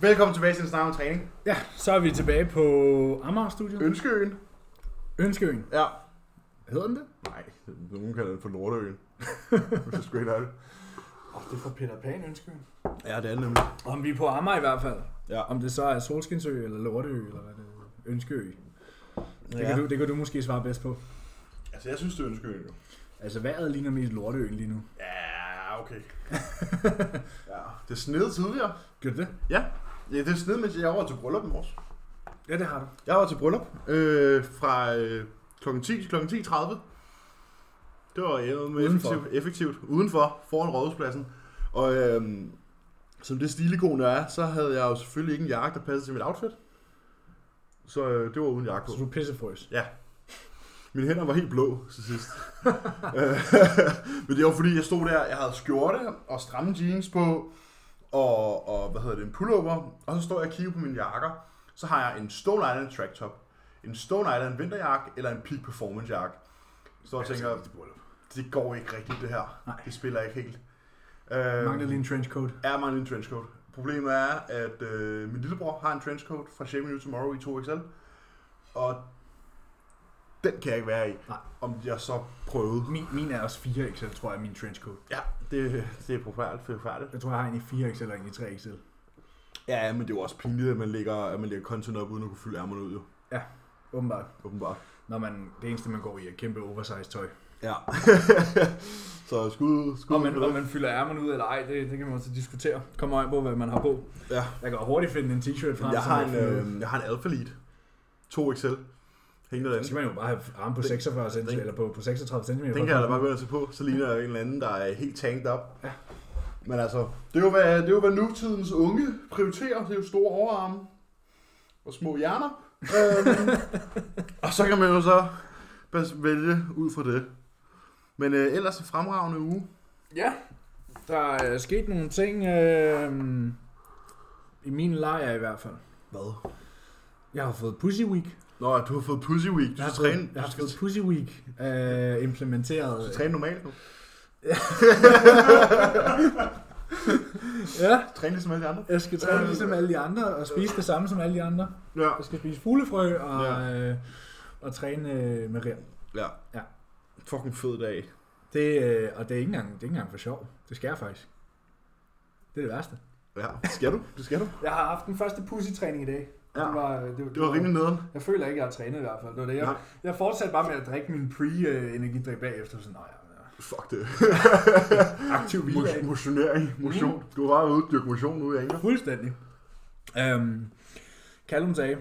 Velkommen tilbage til en snak om træning. Ja, så er vi tilbage på Amager Studio. Ønskeøen. Ønskeøen. Ja. Hedder den det? Nej, nogen kalder den for Nordøen. Hvis jeg skulle helt Oh, det er fra Peter Pan, ønsker jeg. Ja, det er det nemlig. Om vi er på Amager i hvert fald. Ja. Om det så er Solskinsø eller Lorteø eller hvad det er. Ønskeø. Det, Ja. kan du, det kan du måske svare bedst på. Altså, jeg synes, det er Ønskeøen jo. Altså, vejret ligner mest Lorteøen lige nu. Ja, okay. ja. Det snede tidligere. Gør det det? Ja, det snede, mens jeg var til bryllup i morges. Ja, det har du. Jeg var til bryllup øh, fra øh, kl. 10 til kl. 10.30. Det var ja, med Udenfor. effektivt, effektivt. Udenfor, foran rådhuspladsen. Og øh, som det stilikon jeg er, så havde jeg jo selvfølgelig ikke en jakke, der passede til mit outfit. Så øh, det var uden jakke Så på. du er pissefrøs. Mine hænder var helt blå til sidst. Øh, Men det var fordi, jeg stod der, jeg havde skjorte og stramme jeans på, og, og hvad hedder det, en pullover, og så står jeg og kigger på mine jakker. Så har jeg en Stone Island track top, en Stone Island vinterjakke, eller en Peak Performance jakke. Så jeg tænker, det går ikke rigtigt det her. Nej. Det spiller ikke helt. Jeg Øh, mangler lige en trenchcoat. er mig en trenchcoat. Problemet er, at øh, min lillebror har en trenchcoat fra Shaping You Tomorrow i 2XL, og den kan jeg ikke være i, Nej. om jeg så prøvede. Min, min er også 4XL, tror jeg, min trenchcoat. Ja, det, det er forfærdeligt, forfærdeligt. Jeg tror, jeg har en i 4XL og en i 3XL. Ja, men det er jo også pinligt, at man lægger, at man lægger content op, uden at kunne fylde ærmerne ud, jo. Åbenbart. Åbenbart. Når man, det eneste, man går i, er kæmpe oversized tøj. Ja. så skud, skud. Om man, for om det. man fylder ærmerne ud eller ej, det, det kan man også diskutere. Kommer an på, hvad man har på. Ja. Jeg kan hurtigt finde en t-shirt frem. Jeg som har en, finder ud af. øh, jeg har en Alpha Lead. 2XL. Hængende Så derinde. skal man jo bare have arme på Den- 46 cm, den- eller på, på 36 cm. Den kan jeg da bare gå ind og se på, så ligner jeg en eller anden, der er helt tanked op. Ja. Men altså, det er, jo, hvad, det er jo, hvad nutidens unge prioriterer. Det er jo store overarme og små hjerner. øhm, og så kan man jo så bas- vælge ud fra det. Men øh, ellers en fremragende uge. Ja, der er sket nogle ting, øh, i min lejr i hvert fald. Hvad? Jeg har fået Pussy Week. Nå, du har fået Pussy Week. Du Jeg har skal træne, fået, jeg du har skal, fået Pussy Week øh, implementeret. du skal træne normalt nu. Ja, Træne ligesom alle de andre. jeg skal træne ligesom alle de andre, og spise det samme som alle de andre. Ja. Jeg skal spise fuglefrø og, Ja. øh, og træne øh, med rem. ja. Ja. Fucking fed dag. Det, øh, og det er, ikke engang, det er ikke engang for sjov. Det skal jeg faktisk. Det er det værste. Ja, skal du? Det skal du. Jeg har haft den første pussy-træning i dag. Ja. Det var, øh, det, Det var rimelig nederen. Jeg føler ikke, jeg har trænet i hvert fald. Det var det. Jeg, Nej. jeg fortsatte bare med at drikke min pre-energidrik bagefter. Sådan, nej, ja, øh, Fuck det. aktiv hvile. Mo- Mm. motionering, motion. Du var bare ude og dyrke motion ude af England. Fuldstændig. Øhm, Callum sagde,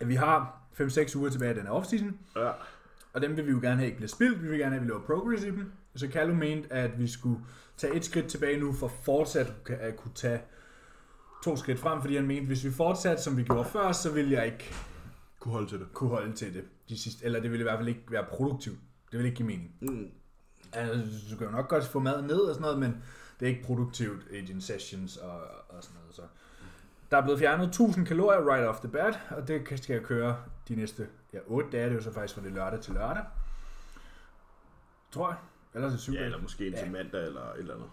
at vi har 5-6 uger tilbage af den her offseason, Ja. og dem vil vi jo gerne have ikke bliver spildt. Vi vil gerne have, at vi laver progress i dem. Så Callum mente, at vi skulle tage et skridt tilbage nu, for fortsat kan- at kunne tage to skridt frem, fordi han mente, at hvis vi fortsatte, som vi gjorde før, så ville jeg ikke Kunne holde til det. kunne holde til det. De sidste, eller det ville i hvert fald ikke være produktivt. Det ville ikke give mening. Mm. Altså, du kan jo nok godt få maden ned og sådan noget, men det er ikke produktivt i dine sessions og, og sådan noget. Så. Der er blevet fjernet 1000 kalorier right off the bat, og det kan- skal jeg køre de næste ja, 8 dage. Det er jo så faktisk fra det lørdag til lørdag. Tror jeg. Eller til 7 Ja, ja, eller måske indtil Ja. mandag eller et eller andet.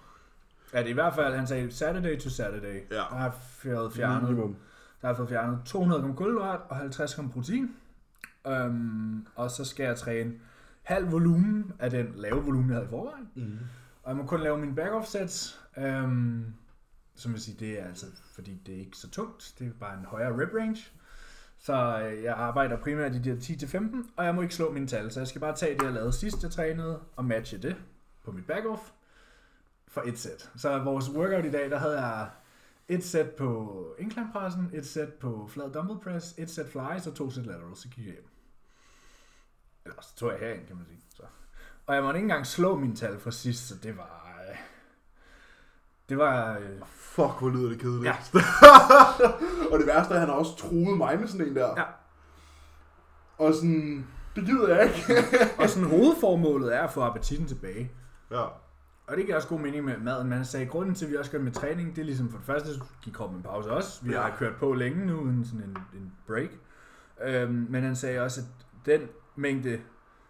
ja, det er i hvert fald, han sagde Saturday to Saturday. Ja. Der har Mm. fået fjernet, der har fået fjernet 200 gram kulhydrat og 50 gram protein. Øhm, og så skal jeg træne halv volumen af den lave volumen, jeg havde i forvejen. Mm. Og jeg må kun lave mine back offsets. Øhm, som jeg siger, det er altså, fordi det er ikke så tungt. Det er bare en højere rep range. Så øh, jeg arbejder primært i de her 10-15, og jeg må ikke slå mine tal. Så jeg skal bare tage det, jeg lavede sidst, jeg trænede, og matche det på mit back off for et sæt. Så vores workout i dag, der havde jeg et sæt på incline pressen, et sæt på flad dumbbell press, et sæt flies og to sæt laterals, så gik jeg hjem. Eller så tog jeg herind, kan man sige. Så. Og jeg måtte ikke engang slå mine tal fra sidst, så det var... Øh, det var... Øh, Fuck, hvor lyder det kedeligt. Ja. og det værste er, at han har også troet mig med sådan en der. Ja. Og sådan, det gider jeg ikke. og sådan hovedformålet er at få appetitten tilbage. Ja. Og det giver også god mening med maden, men han sagde, grunden til, at vi også gør det med træning, det er ligesom for det første, så gik kroppen en pause også. Vi Ja. har kørt på længe nu, uden sådan en, en break. Øhm, men han sagde også, at den mængde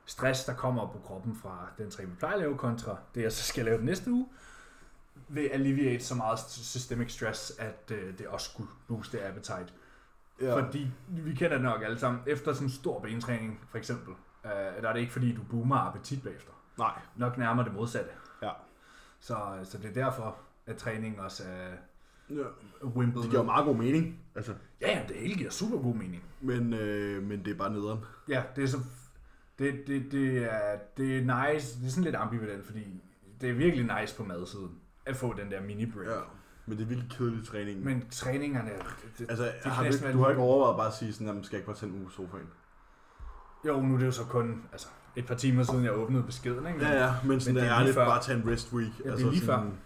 stress, der kommer på kroppen fra den træning, vi plejer at lave, kontra det, jeg så skal lave den næste uge, vil alleviate så meget systemic stress, at øh, det også skulle booste appetite. Ja. Fordi vi kender det nok alle sammen. Efter sådan en stor bentræning, for eksempel, øh, der er det ikke fordi, du boomer appetit bagefter. Nej. Nok nærmere det modsatte. Ja. Så, øh, så det er derfor, at træningen også er Ja. wimpet. Det giver jo ned. meget god mening, altså. Ja, ja, det hele giver super god mening. Men, øh, men det er bare nederen. Ja, det er så... Det, det, det, er, det er nice. Det er sådan lidt ambivalent, fordi det er virkelig nice på madsiden at få den der mini-break. Ja. Men det er virkelig kedelig træning. Men træningerne... Det, det, altså, kan har du, næsten ikke- være du har lige- ikke overvejet bare at sige sådan, at man skal jeg ikke bare tænde mig på sofaen. jo, nu er det jo så kun altså, et par timer siden, jeg åbnede beskeden, ikke? Ja, ja, men sådan det men er lige ærligt, før. bare tage en rest week. Altså det er lige sådan,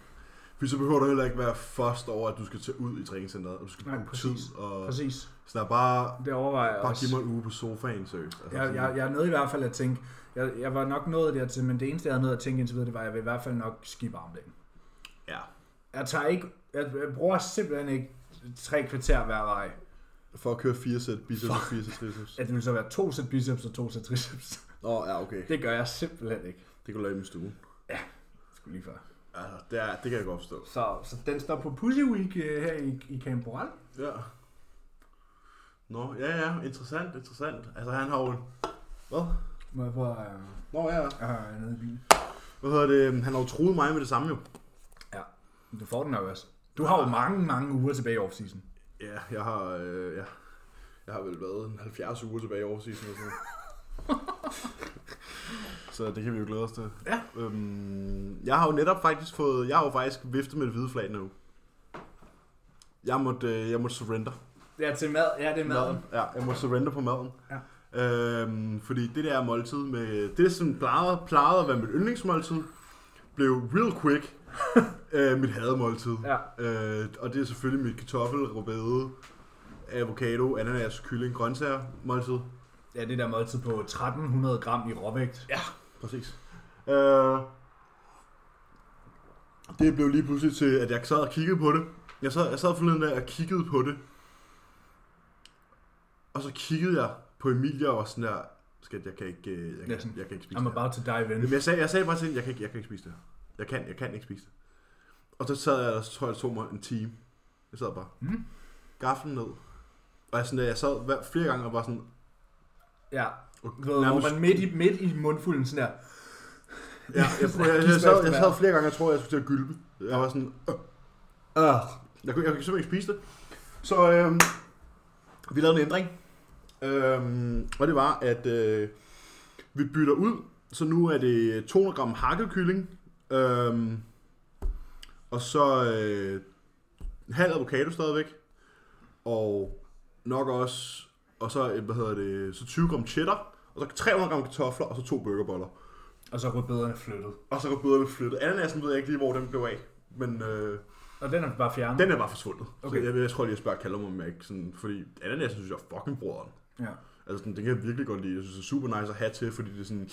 Fordi så behøver du heller ikke være først over, at du skal tage ud i træningscenteret, og du skal Nej, bruge tid. præcis. Og Præcis. sådan der bare, Det overvejer jeg bare også. give mig en uge på sofaen, seriøst. Altså, Jeg, sådan- jeg, jeg er nået i hvert fald at tænke, jeg, jeg var nok nået dertil, men det eneste, jeg havde nået at tænke indtil videre, det var, at jeg vil i hvert fald nok skibe armdagen. Ja. Jeg tager ikke, jeg, jeg bruger simpelthen ikke tre kvarter hver vej. For at køre fire sæt biceps og fire sæt triceps. At det vil så være to sæt biceps og to sæt triceps. Nå, ja, okay. Det gør jeg simpelthen ikke. Det kan du lave i min stue. Skulle lige før. Altså, det, er, det kan jeg godt forstå. Så, så den står på Pussy Week øh, her i, i Camp Boral. Ja. Nå, ja, ja, interessant, interessant. Altså, han har jo... Hvad? Må jeg prøve at Nå, ja. øh, øh, nede i bilen? Hvad hedder det? Han har jo troet mig med det samme, jo. Du får den nok også. Du har jo mange, mange uger tilbage i off-season. Ja, jeg har... Øh, ja. Jeg har vel været en 70 uger tilbage i årsiden eller sådan noget. Så det kan vi jo glæde os til. Ja. Øhm, jeg har jo netop faktisk fået... Jeg har jo faktisk viftet med det hvide flag nu. Jeg måtte, øh, jeg måtte surrender. Ja, til mad. Ja, det er maden. Ja, jeg må surrender på maden. Ja. Øhm, fordi det der måltid med... Det som plejede, plejede at være mit yndlingsmåltid, blev real quick øh, mit hademåltid. Ja. Øh, og det er selvfølgelig mit kartoffel, rødbede, avocado, ananas, kylling, grøntsager måltid. ja, det der måltid på 1300 gram i råvægt. Præcis. Øh, det blev lige pludselig til, at jeg sad og kiggede på det. Jeg sad, jeg sad forleden dag og kiggede på det. Og så kiggede jeg på Emilia og var sådan der, skat, jeg kan ikke, øh, jeg, kan, Næsten. jeg kan ikke spise I'm det her." about to dive in. Men jeg sagde, jeg sagde bare til hende, jeg kan ikke, jeg kan ikke spise det her. Jeg kan, jeg kan ikke spise det. Og så sad jeg, og så tror jeg, det tog mig en time. Jeg sad bare, Mm. gaflen ned. Og jeg, sådan, der, jeg sad hver, flere gange og var sådan, Ja, okay, du ved, hvor man midt i, midt i mundfulden sådan der. Ja, jeg, prøv, jeg, jeg, sad, jeg sad flere gange, jeg tror, jeg skulle til at gylpe. Jeg var sådan... Øh, øh. Jeg, kunne, jeg kunne simpelthen ikke spise det. Så øh, vi lavede en ændring. Øh, og det var, at øh, vi bytter ud. Så nu er det 200 gram hakket kylling. Øh, og så øh, en halv avocado stadigvæk. Og nok også... Og så, øh, hvad hedder det, så 20 gram cheddar. Og så 300 gram kartofler, og så to burgerboller. Og så er rødbederne flyttet. Og så går bøderne flyttet. Ananasen ved jeg ikke lige, hvor den blev af. Men øh, Og den er bare fjernet. den er bare forsvundet. Okay. Okay. Så jeg, jeg tror lige, jeg spørger Callum om jeg ikke sådan... Fordi ananasen synes jeg er fucking broderen. Ja. Altså sådan, den kan jeg virkelig godt lide. Jeg synes, det er super nice at have til, fordi det er sådan...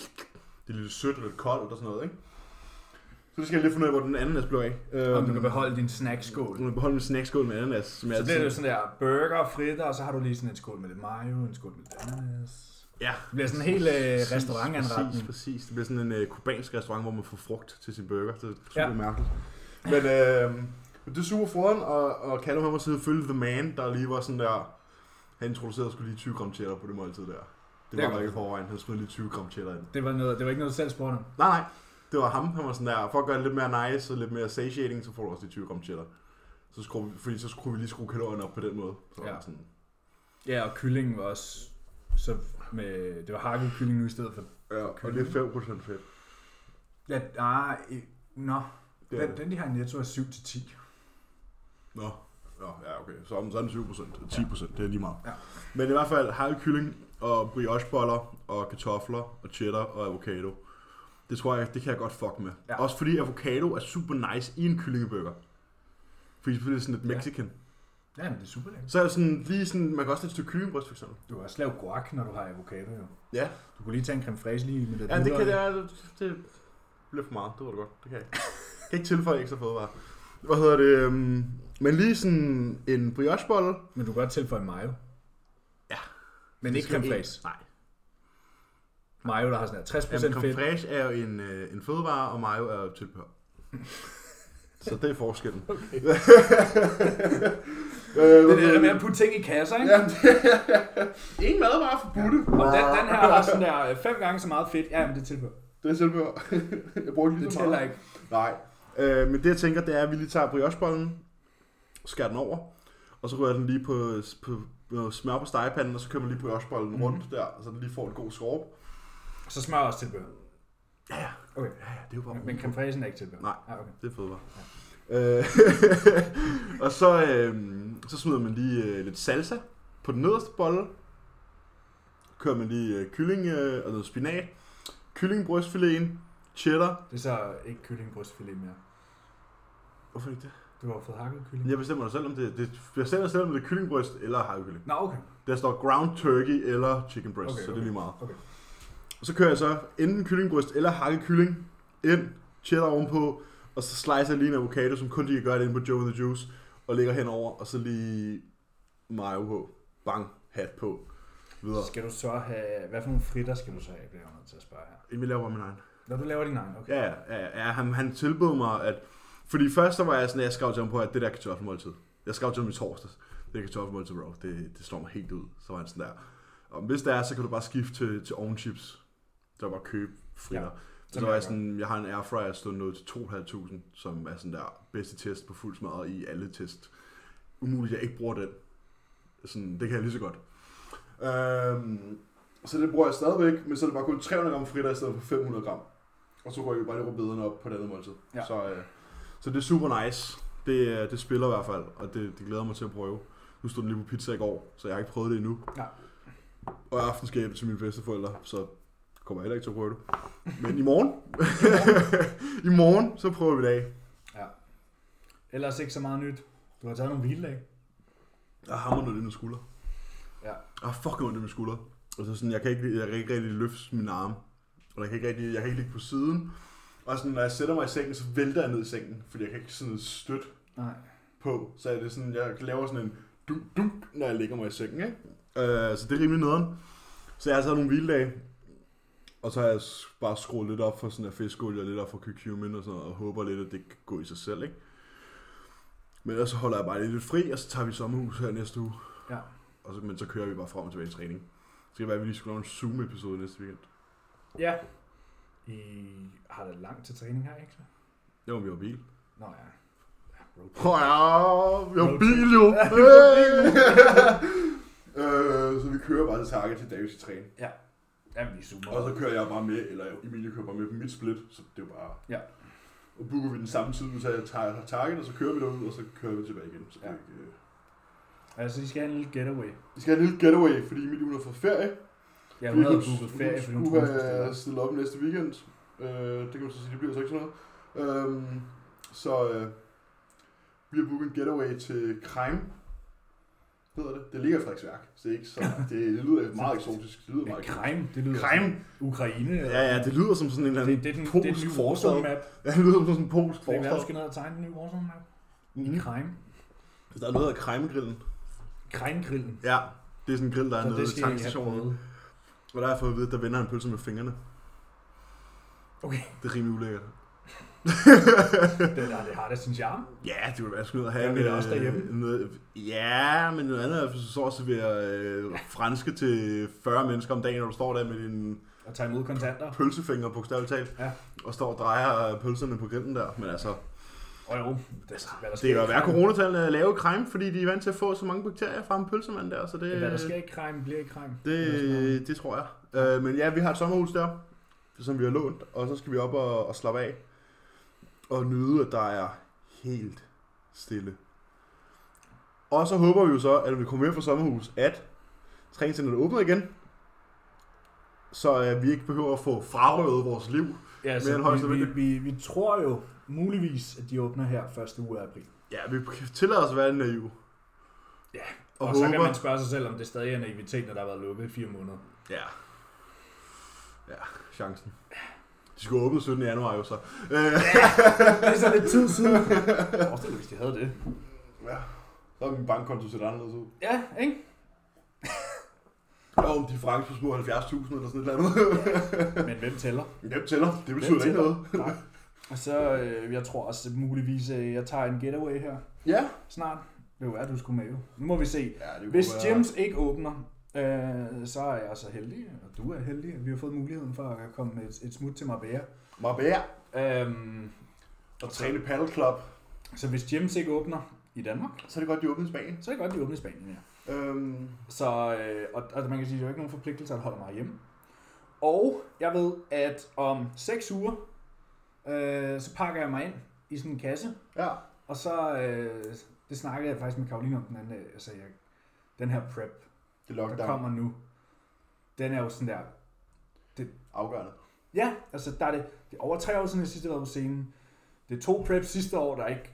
Det er lidt sødt og lidt koldt og sådan noget, ikke? Så det skal jeg lige finde ud af, hvor den ananas blev af. Øhm, Om du kan beholde din snackskål. Du kan beholde min snackskål Øhm, med ananas, som jeg Så det er altid- jo sådan der burger, fritter, og så har du lige sådan en skål med lidt mayo, en skål med lidt ananas. Ja. Det bliver sådan en hel øh, Præcis, Præcis, restaurantanretning. præcis. Det bliver sådan en øh, kubansk restaurant, hvor man får frugt til sin burger. Det er super ja. Ja. mærkeligt. Men øh, det er super foran, og, og Callum han var selvfølgelig the man, der lige var sådan der... Han introducerede skulle lige 20 gram cheddar på det måltid der. Det kan var jeg der ikke godt. forvejen. Han smed lige 20 gram cheddar ind. Det var, noget, det var ikke noget, du selv spurgte om. Nej, nej. Det var ham. Han var sådan der, for at gøre det lidt mere nice og lidt mere satiating, så får du også de 20 gram cheddar. Så skruer vi, fordi så skulle vi lige skrue kalorierne op på den måde. Så Ja. ja. sådan, Ja, og kyllingen var også... Så med, det var hakket kylling nu i stedet for... ja, og det er 5% fedt. Ja, ah, øh, nå. Det er det. Den, den, de har i netto er 7-10. Nå, Nå ja, okay. Så, om- så er den 7%. 10%, det er lige meget. Ja. Men i hvert fald halvkylling og briocheboller og kartofler og cheddar og avocado. Det tror jeg, det kan jeg godt fuck med. Ja. Også fordi avocado er super nice i en kyllingeburger. Fordi det er sådan lidt Ja. mexican. Ja, men det er super lækkert. Så er det sådan lige sådan, man kan også tage et stykke kyllingbryst for eksempel. Du kan også lave guac, når du har avocado jo. Ja. Du kunne lige tage en creme fraise lige med lidt Ja, det nudler kan i. det, er, det, det bliver for meget, det var det godt. Det kan jeg ikke. Jeg kan ikke tilføje ekstra fødevarer. Hvad hedder det? øhm, Men lige sådan en briochebolle. Men du kan godt tilføje mayo. Ja. Men ikke creme fraise. Nej. Mayo, der har sådan her 60% Jamen, creme fedt. fraiche er jo en, øh, en fødevare, og mayo er jo et tilbehør. Så det er forskellen. Okay. øh, Det er det der med at putte ting i kasser, ikke? Ja, Ingen madvarer forbudte. Og den, den her har sådan der øh, fem gange så meget fedt. Ja, men Ah. det tilbehør. Det er selvbehør. jeg bruger ikke lige Det så tæller meget. ikke. Nej. Øh, men det jeg tænker, det er, at vi lige tager briochebollen, skærer den over, og så rører den lige på, på, på smør på stegepanden, og så kører man lige briochebollen mm. Mhm. rundt der, så den lige får en god skorp. Så smør også tilbehør. Ja, det er jo bare... Men- Men creme fraichen er ikke tilbehør. Nej. Ah, okay. Det er fodbold. Øh, og så, øh, så smider man lige øh, lidt salsa på den nederste bolle. Kører man lige øh, kylling øh, og noget spinat. Kylling, cheddar. Det er så ikke kyllingebrystfilet mere. Hvorfor ikke det? Du har fået hakket kylling. Jeg bestemmer selv, om det, det jeg bestemmer selv, om det er kyllingbryst eller hakkekylling. Nå, okay. Der står ground turkey eller chicken breast, okay, Okay, så det er okay. lige meget. Okay. Og så kører jeg så enten kyllingbryst eller hakkekylling ind, cheddar ovenpå, og så slicer jeg lige en avocado, som kun de kan gøre det inde på Joe and the Juice, og lægger henover, og så lige mayo på. Bang, hat på. Videre. Skal du så have... Hvad for nogle fritter skal du så have, bliver jeg nødt til at spørge her. Jamen, jeg laver bare min egen. Når du laver din egen, okay. Ja, ja, ja, ja han, han tilbød mig, at... Fordi først så var jeg sådan, at jeg skrev til ham på, at det der kartoffelmåltid. Jeg skrev til ham i torsdags. Det der kartoffelmåltid, bro, det, det slår mig helt ud. Så var han sådan der. Og hvis det er, så kan du bare skifte til, til ovnchips. Der var købe fritter. Ja, Ja, det så var kan jeg jeg sådan, jeg har en airfryer stående noget til 2.500, som er sådan der bedste test på fuld smadret i alle test. Umuligt, jeg ikke bruger den. Sådan, det kan jeg lige så godt. Øhm, så det bruger jeg stadigvæk, men så er det bare kun 300 gram fritter i stedet for 500 gram. Og så rykker vi bare lige rødbederne op på det andet måltid. Ja. Så, øh, så det er super nice. Det, øh, det spiller i hvert fald, og det, det glæder jeg mig til at prøve. Nu stod den lige på pizza i går, så jeg har ikke prøvet det endnu. Nej. Og i aften skal jeg hjem til mine bedsteforældre, så kommer jeg heller ikke til at prøve det. Men i morgen, i morgen, så prøver vi det af. Ellers ikke så meget nyt. Du har taget nogle hviledage. Jeg hammer noget i mine skuldre. Ja. Jeg har fucking ondt i mine skuldre. Og så sådan, jeg kan ikke, jeg kan ikke rigtig løfte mine arme. Og jeg kan ikke rigtig, jeg kan ikke ligge på siden. Og sådan, når jeg sætter mig i sengen, så vælter jeg ned i sengen, fordi jeg kan ikke sådan støtte Nej. på. Så er det sådan, jeg laver sådan en dunk, dunk, når jeg ligger mig i sengen, ikke? Øh, så det er rimelig nederen. Så jeg har taget nogle hviledage, og så har jeg s- bare skruet lidt op for sådan der fiskolie og lidt op for curcumin og sådan noget, og håber lidt, at det kan gå i sig selv, ikke? Men ellers så holder jeg bare lidt fri, og så tager vi sommerhus her næste uge. Ja. Og så, men så kører vi bare frem og tilbage i træning. Så kan det være, at vi lige skulle lave en Zoom-episode næste weekend. Ja. I har det langt til træning her, ikke? Det var vi har bil. Nå ja. Ja, road trip. Åh ja, vi har bil jo! øh, så vi kører bare til Target til Davis i træning. Jamen, vi er super. Og så kører jeg bare med, eller Emilie kører bare med på mit split, så det er jo bare... Ja. Og booker vi den samme tid, så jeg tager target, og så kører vi derud, og så kører vi tilbage igen. Så Ja. ja. ikke, øh. Altså, I skal have en lille getaway. Vi skal have en lille getaway, fordi Emilie hun er fra ferie. Ja, Vi hun havde kunne- booket ferie, fordi hun skulle skulle have bestille. stillet øh, op næste weekend. Øh, det kan man så sige, det bliver så ikke sådan noget. Øhm, så øh, vi har booket en getaway til Kreim. Hedder det? Det ligger i Frederiksværk, så det er ikke så... Det, det lyder meget eksotisk. Det lyder Ja, meget Krem, det lyder Krem. som Ukraine. eller- Ja, ja, det lyder som sådan en eller det, anden det, er den, det er den polsk nye forstad. Warzone map. Ja, det lyder som sådan en polsk Det kan være, forstad. du skal ned og tegne den nye Warzone map. I Mhm. Krem. Der er noget af kremgrillen. Kremgrillen. Ja, det er sådan en grill, der er Så nede det ved skal I have tankstationen. prøvet. Og der har jeg fået at vide, at der vender en pølse med fingrene. Okay. Det er rimelig ulækkert. Det, der, det har da sin charme. Ja, det ville være sgu noget at have. Ja, men en, også øh, derhjemme. Noget, ja, men noget andet er, hvis du så også serverer øh, franske til 40 mennesker om dagen, når du står der med dine Og tage imod kontanter. pølsefinger, bogstaveligt talt, Ja. og står og drejer øh, pølserne på grillen der. Men altså, Og jo, det, hvad der det kan sker jo i være, at Krem- coronatallene er lave i krem, fordi de er vant til at få så mange bakterier fra en pølsemand der, så det... Hvad der sker i Krem, bliver i Krem. Det, det tror jeg. Øh, men ja, vi har et sommerhus der, som vi har lånt, og så skal vi op og, og slappe af. Og nyde, at der er helt stille. Og så håber vi jo så, at når vi kommer hjem fra sommerhus, at træningscenteret åbner igen. Så øh, vi ikke behøver at få frarøvet vores liv. Ja, Men så højst vi, vi, nødvendigt. vi, vi tror jo muligvis, at de åbner her første uge af april. Ja, vi tillader os at være naive. Ja, og, og Og, og så kan håber... man spørge sig selv, om det stadig er naivitet, når der har været lukket i fire måneder. Ja. Ja, chancen. De skulle åbne 17. januar jo så. Øh. Det er så lidt tid siden. Forestil dig, hvis de havde det. Ja. Så har min bankkonto set anderledes ud. Ja, ikke? Jo, om de er franske på små 70.000 eller sådan et eller andet. Men hvem tæller? Hvem tæller? Det betyder Hvem ikke tæller? noget. Nej. Og så, øh, jeg tror også muligvis, at jeg tager en getaway her Ja. snart. Det kunne være, at du skulle med. jo. Nu må vi se. ja det kunne Hvis være- gyms ikke åbner, øh, så er jeg så heldig, og du er heldig, at vi har fået muligheden for at komme med et, et smut til Marbella. Marbella Øhm, og Trane Paddle Club, så hvis gyms ikke åbner i Danmark, så er det godt, de åbner i Spanien. så er det godt, de åbner i Spanien, ja. Øhm, Så øh, og, og man kan sige, at der er jo ikke nogen forpligtelser at holde mig hjemme. Og jeg ved, at om 6 uger, øh, så pakker jeg mig ind i sådan en kasse, ja. og så, øh, det snakkede jeg faktisk med Karoline om den anden dag, jeg sagde, jeg, den her prep, Det er der lockdown. kommer nu, den er jo sådan der, Afgørende. ja, altså der er det, det er over tre år siden, jeg sidst har været på scenen, det er to prep sidste år, der ikke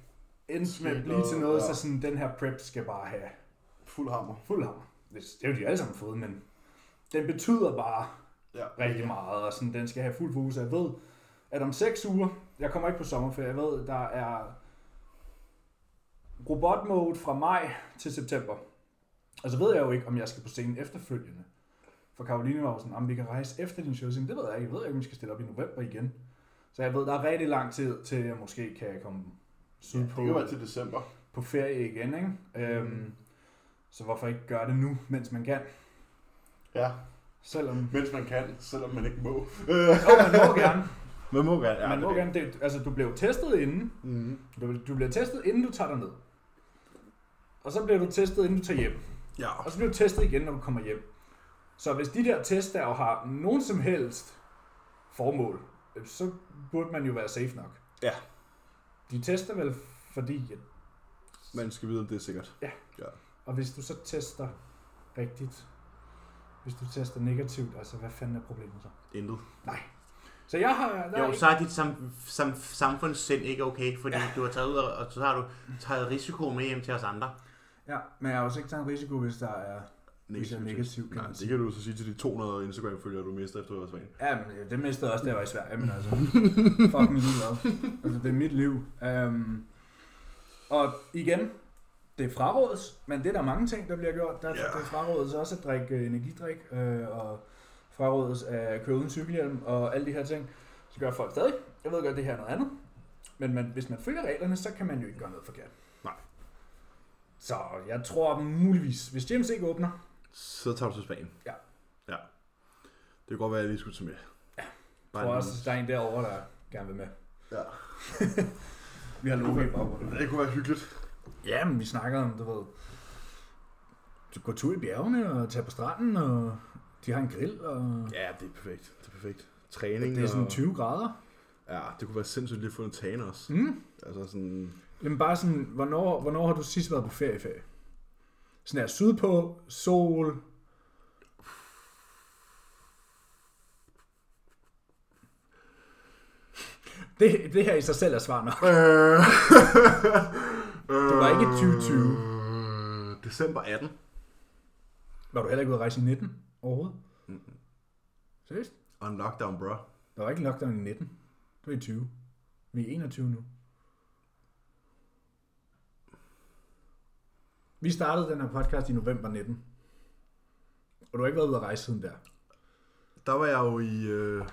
endte med at blive til noget, Ja. så sådan, den her prep skal bare have Fuld hammer. fuld hammer. Det det er jo de alle sammen fået, men den betyder bare Ja. rigtig meget, og sådan, den skal have fuld fokus. Jeg ved, at om 6 uger, jeg kommer ikke på sommerferie, jeg ved, der er robotmode fra maj til september. Og så ved jeg jo ikke, om jeg skal på scenen efterfølgende. For Karoline var jo sådan, om vi kan rejse efter din show. Så jeg tænkte, Det ved jeg ikke. Jeg ved ikke, om vi skal stille op i november igen. Så jeg ved, der er rigtig lang tid til, at jeg måske kan komme Ja, sydpå det kan være til december. på ferie igen, ikke? Øhm, så hvorfor ikke gøre det nu, mens man kan? Ja, Selvom... mens man kan, selvom man ikke må. Jo, man må gerne. Man må gerne, Ja, man må gerne. Det, altså, du bliver jo testet inden. Mm. Du, du bliver testet, inden du tager dig ned. Og så bliver du testet, inden du tager hjem. Ja. Og så bliver du testet igen, når du kommer hjem. Så hvis de der test der jo har nogen som helst formål, øh, så burde man jo være safe nok. Ja. De tester vel, fordi... At, Man skal vide, om det er sikkert. og hvis du så tester rigtigt, hvis du tester negativt, altså hvad fanden er problemet så? Intet. Så jeg har... Der er Jo, ikke- så er dit sam, sam, samfundssind ikke okay, fordi ja. du har taget ud, og, og så har du taget risiko med hjem til os andre. Ja, men jeg har også ikke taget en risiko, hvis der er... Hvis jeg er negativ, kan Nej, man det sige. kan du så sige til de 200 Instagram-følgere, du mister efter Hørsvagen. Ja, men det mistede jeg også, da jeg var i Sverige, men altså, fuck min liv op. Altså, det er mit liv. Um, og igen, det er frarådes, men det er der mange ting, der bliver gjort. Der, yeah. Ja. Det er frarådes også at drikke øh, energidrik, øh, og frarådes at køre uden cykelhjelm, og alle de her ting. Så gør folk stadig. Jeg ved godt, det her er noget andet. Men man, hvis man følger reglerne, så kan man jo ikke gøre noget forkert. Nej. Så jeg tror muligvis, hvis James ikke åbner, Så tager du til Spanien. Ja. Ja. Det kan godt være, at jeg lige skulle tage med. tror Bare jeg en- også, der er en derovre, der gerne vil med. Ja. Vi har logo i baggrunden. Det kunne være hyggeligt. Ja, men vi snakker om, du ved, du går tur i bjergene og tager på stranden, og de har en grill, og Ja, det er perfekt. Det er perfekt. Træning det er sådan og... 20 grader. Ja, det kunne være sindssygt lige at få en tan også. Mm. Altså sådan... Jamen bare sådan, hvornår, hvornår har du sidst været på ferieferie? Sådan her sydpå, sol. Det, det her i sig selv er svar nok. Øh... Det var ikke 2020. Øh, December 18. Var du heller ikke ude at rejse i 19 overhovedet? Seriøst? Og en lockdown, bro. Der var ikke en lockdown i 19. Det var i 20. Vi er 21 nu. Vi startede den her podcast i november 19. Og du har ikke været ude at rejse siden der. Der var jeg jo i... Øh,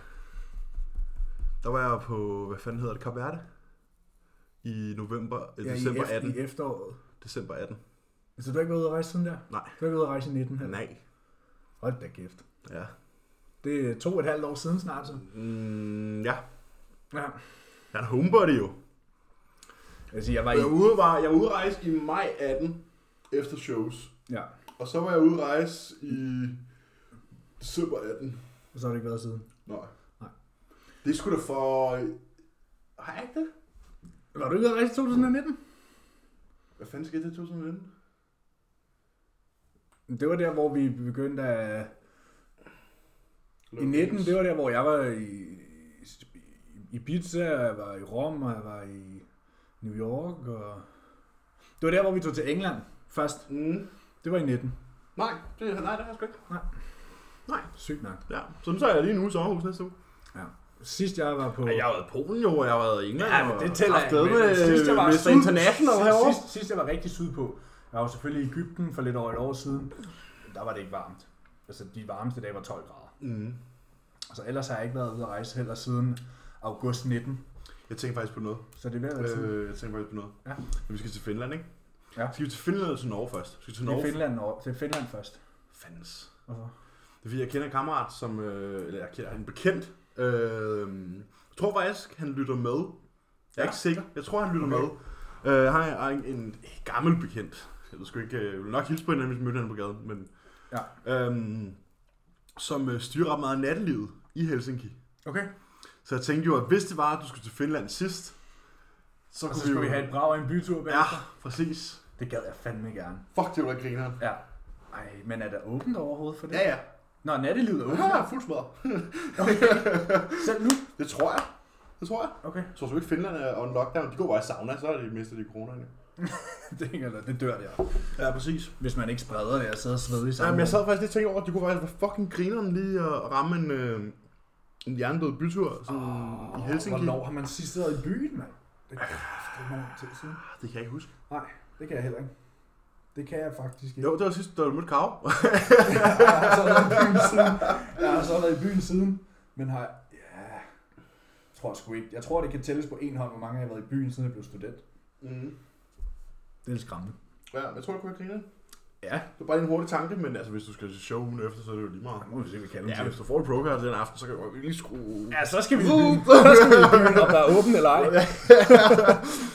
der var jeg på, hvad fanden hedder det, Kap Verde? I november, ja, Ja, december i, eft- 18. I efteråret. December 18. Så du har ikke været ude at rejse siden der? Nej. Du har ikke været ude at rejse i 19 her? Nej. Hold da kæft. Ja. Det er to og et halvt år siden snart, så. Mm, ja. Ja. Jeg er en homebody jo. Jeg siger, jeg var Jeg var i... ude, var, jeg var ude at rejse i maj 18 efter shows. Ja, Og så var jeg ude at rejse i december 18. og så har du ikke været siden. Nej. Nej. Det skulle da for... Har jeg ikke det? Var du ikke ude at rejse i 2019? Hvad fanden skete det i 2019? Det var der, hvor vi begyndte at... I 19, det var der, hvor jeg var i, i Ibiza, og jeg var i Rom, og jeg var i New York, og... Det var der, hvor vi tog til England først. Mm. Det var i 19. Nej, det, nej, det har jeg sgu ikke. Sygt nok. Ja, så nu tager jeg lige en uge i sommerhus næste uge. Sidst jeg var på... Ja, jeg har været i Polen jo, og jeg har været i England. Ja, men det tæller ikke. ikke. Med, Men sidst jeg var Mr. syd- International sidst- herovre. Sidst, sidst jeg var rigtig sydpå. Jeg var jo selvfølgelig i Ægypten for lidt over et år siden. Der var det ikke varmt. Altså, de varmeste dage var 12 grader. Altså, Mm. Så ellers har jeg ikke været ude at rejse heller siden august 19. Jeg tænker faktisk på noget. Så det bliver altså... Øh, Øh, jeg tænker faktisk på noget. Ja. Men vi skal til Finland, ikke? Ja. Skal vi til Finland eller til Norge først? Skal vi til det, er Norge? Finland, over- det er Finland først. Fandens. Hvorfor? Det er fordi, jeg kender en kammerat, som, øh, eller jeg kender en bekendt. Øh, jeg tror faktisk, han lytter med. Jeg er ja. Ja. ikke sikker. Jeg tror, han lytter okay. med. Øh, han er en, en gammel bekendt. Jeg ved sgu ikke, øh, jeg ville nok hilse på hende, hvis jeg mødte hende på gaden. Men, ja. øhm, som øh, styrer ret meget af nattelivet i Helsinki. Okay. Så jeg tænkte jo, at hvis det var, at du skulle til Finland sidst, så Og kunne så skal jo... vi have et brag og en bytur Ja, bagefter. præcis. Det gad jeg fandme gerne. Fuck, det var da grineren. Ja. Ej, men er der åbent overhovedet for det? Ja, ja. Nå, nattelivet er åbent. Ja, fuld smadret. Selv nu? Det tror jeg. Det tror jeg. Okay. Jeg tror sgu ikke, Finland er on lockdown. De går bare i sauna, så er de mistet de corona. det, hænger, der- det dør der. Ja, præcis. Hvis man ikke spreder det og sidder og sveder i Ja, sammen. men jeg sad faktisk lige og tænkte over, at det kunne faktisk være fucking grineren lige at ramme en, øh, en hjernedød bytur sådan oh, i Helsinki. Hvornår har man sidst været i byen, mand? Det er det er nogen tid siden. Ah, Det kan jeg ikke huske. Nej, det kan jeg heller ikke. Det kan jeg faktisk ikke. Jo, det var sidst, da du mødte Kav. Jeg har så været i byen siden. Jeg har så været i byen siden, men har... Ja, jeg tror sgu ikke. Jeg tror, det kan tælles på en hånd, hvor mange jeg har været i byen, siden jeg blev student. Mm. Det er skræmmende. Ja, men jeg tror, det kunne være grineren. Ja. Det var bare lige en hurtig tanke, men altså, hvis du skal til show ugen efter, så er det jo lige meget. Nu må vi se, hvad vi kan Ja, hvis du får et procard den aften, så kan du jo lige skrue... Ja, så skal vi i byen. Så skal vi i byen, om der er åbent eller ej. der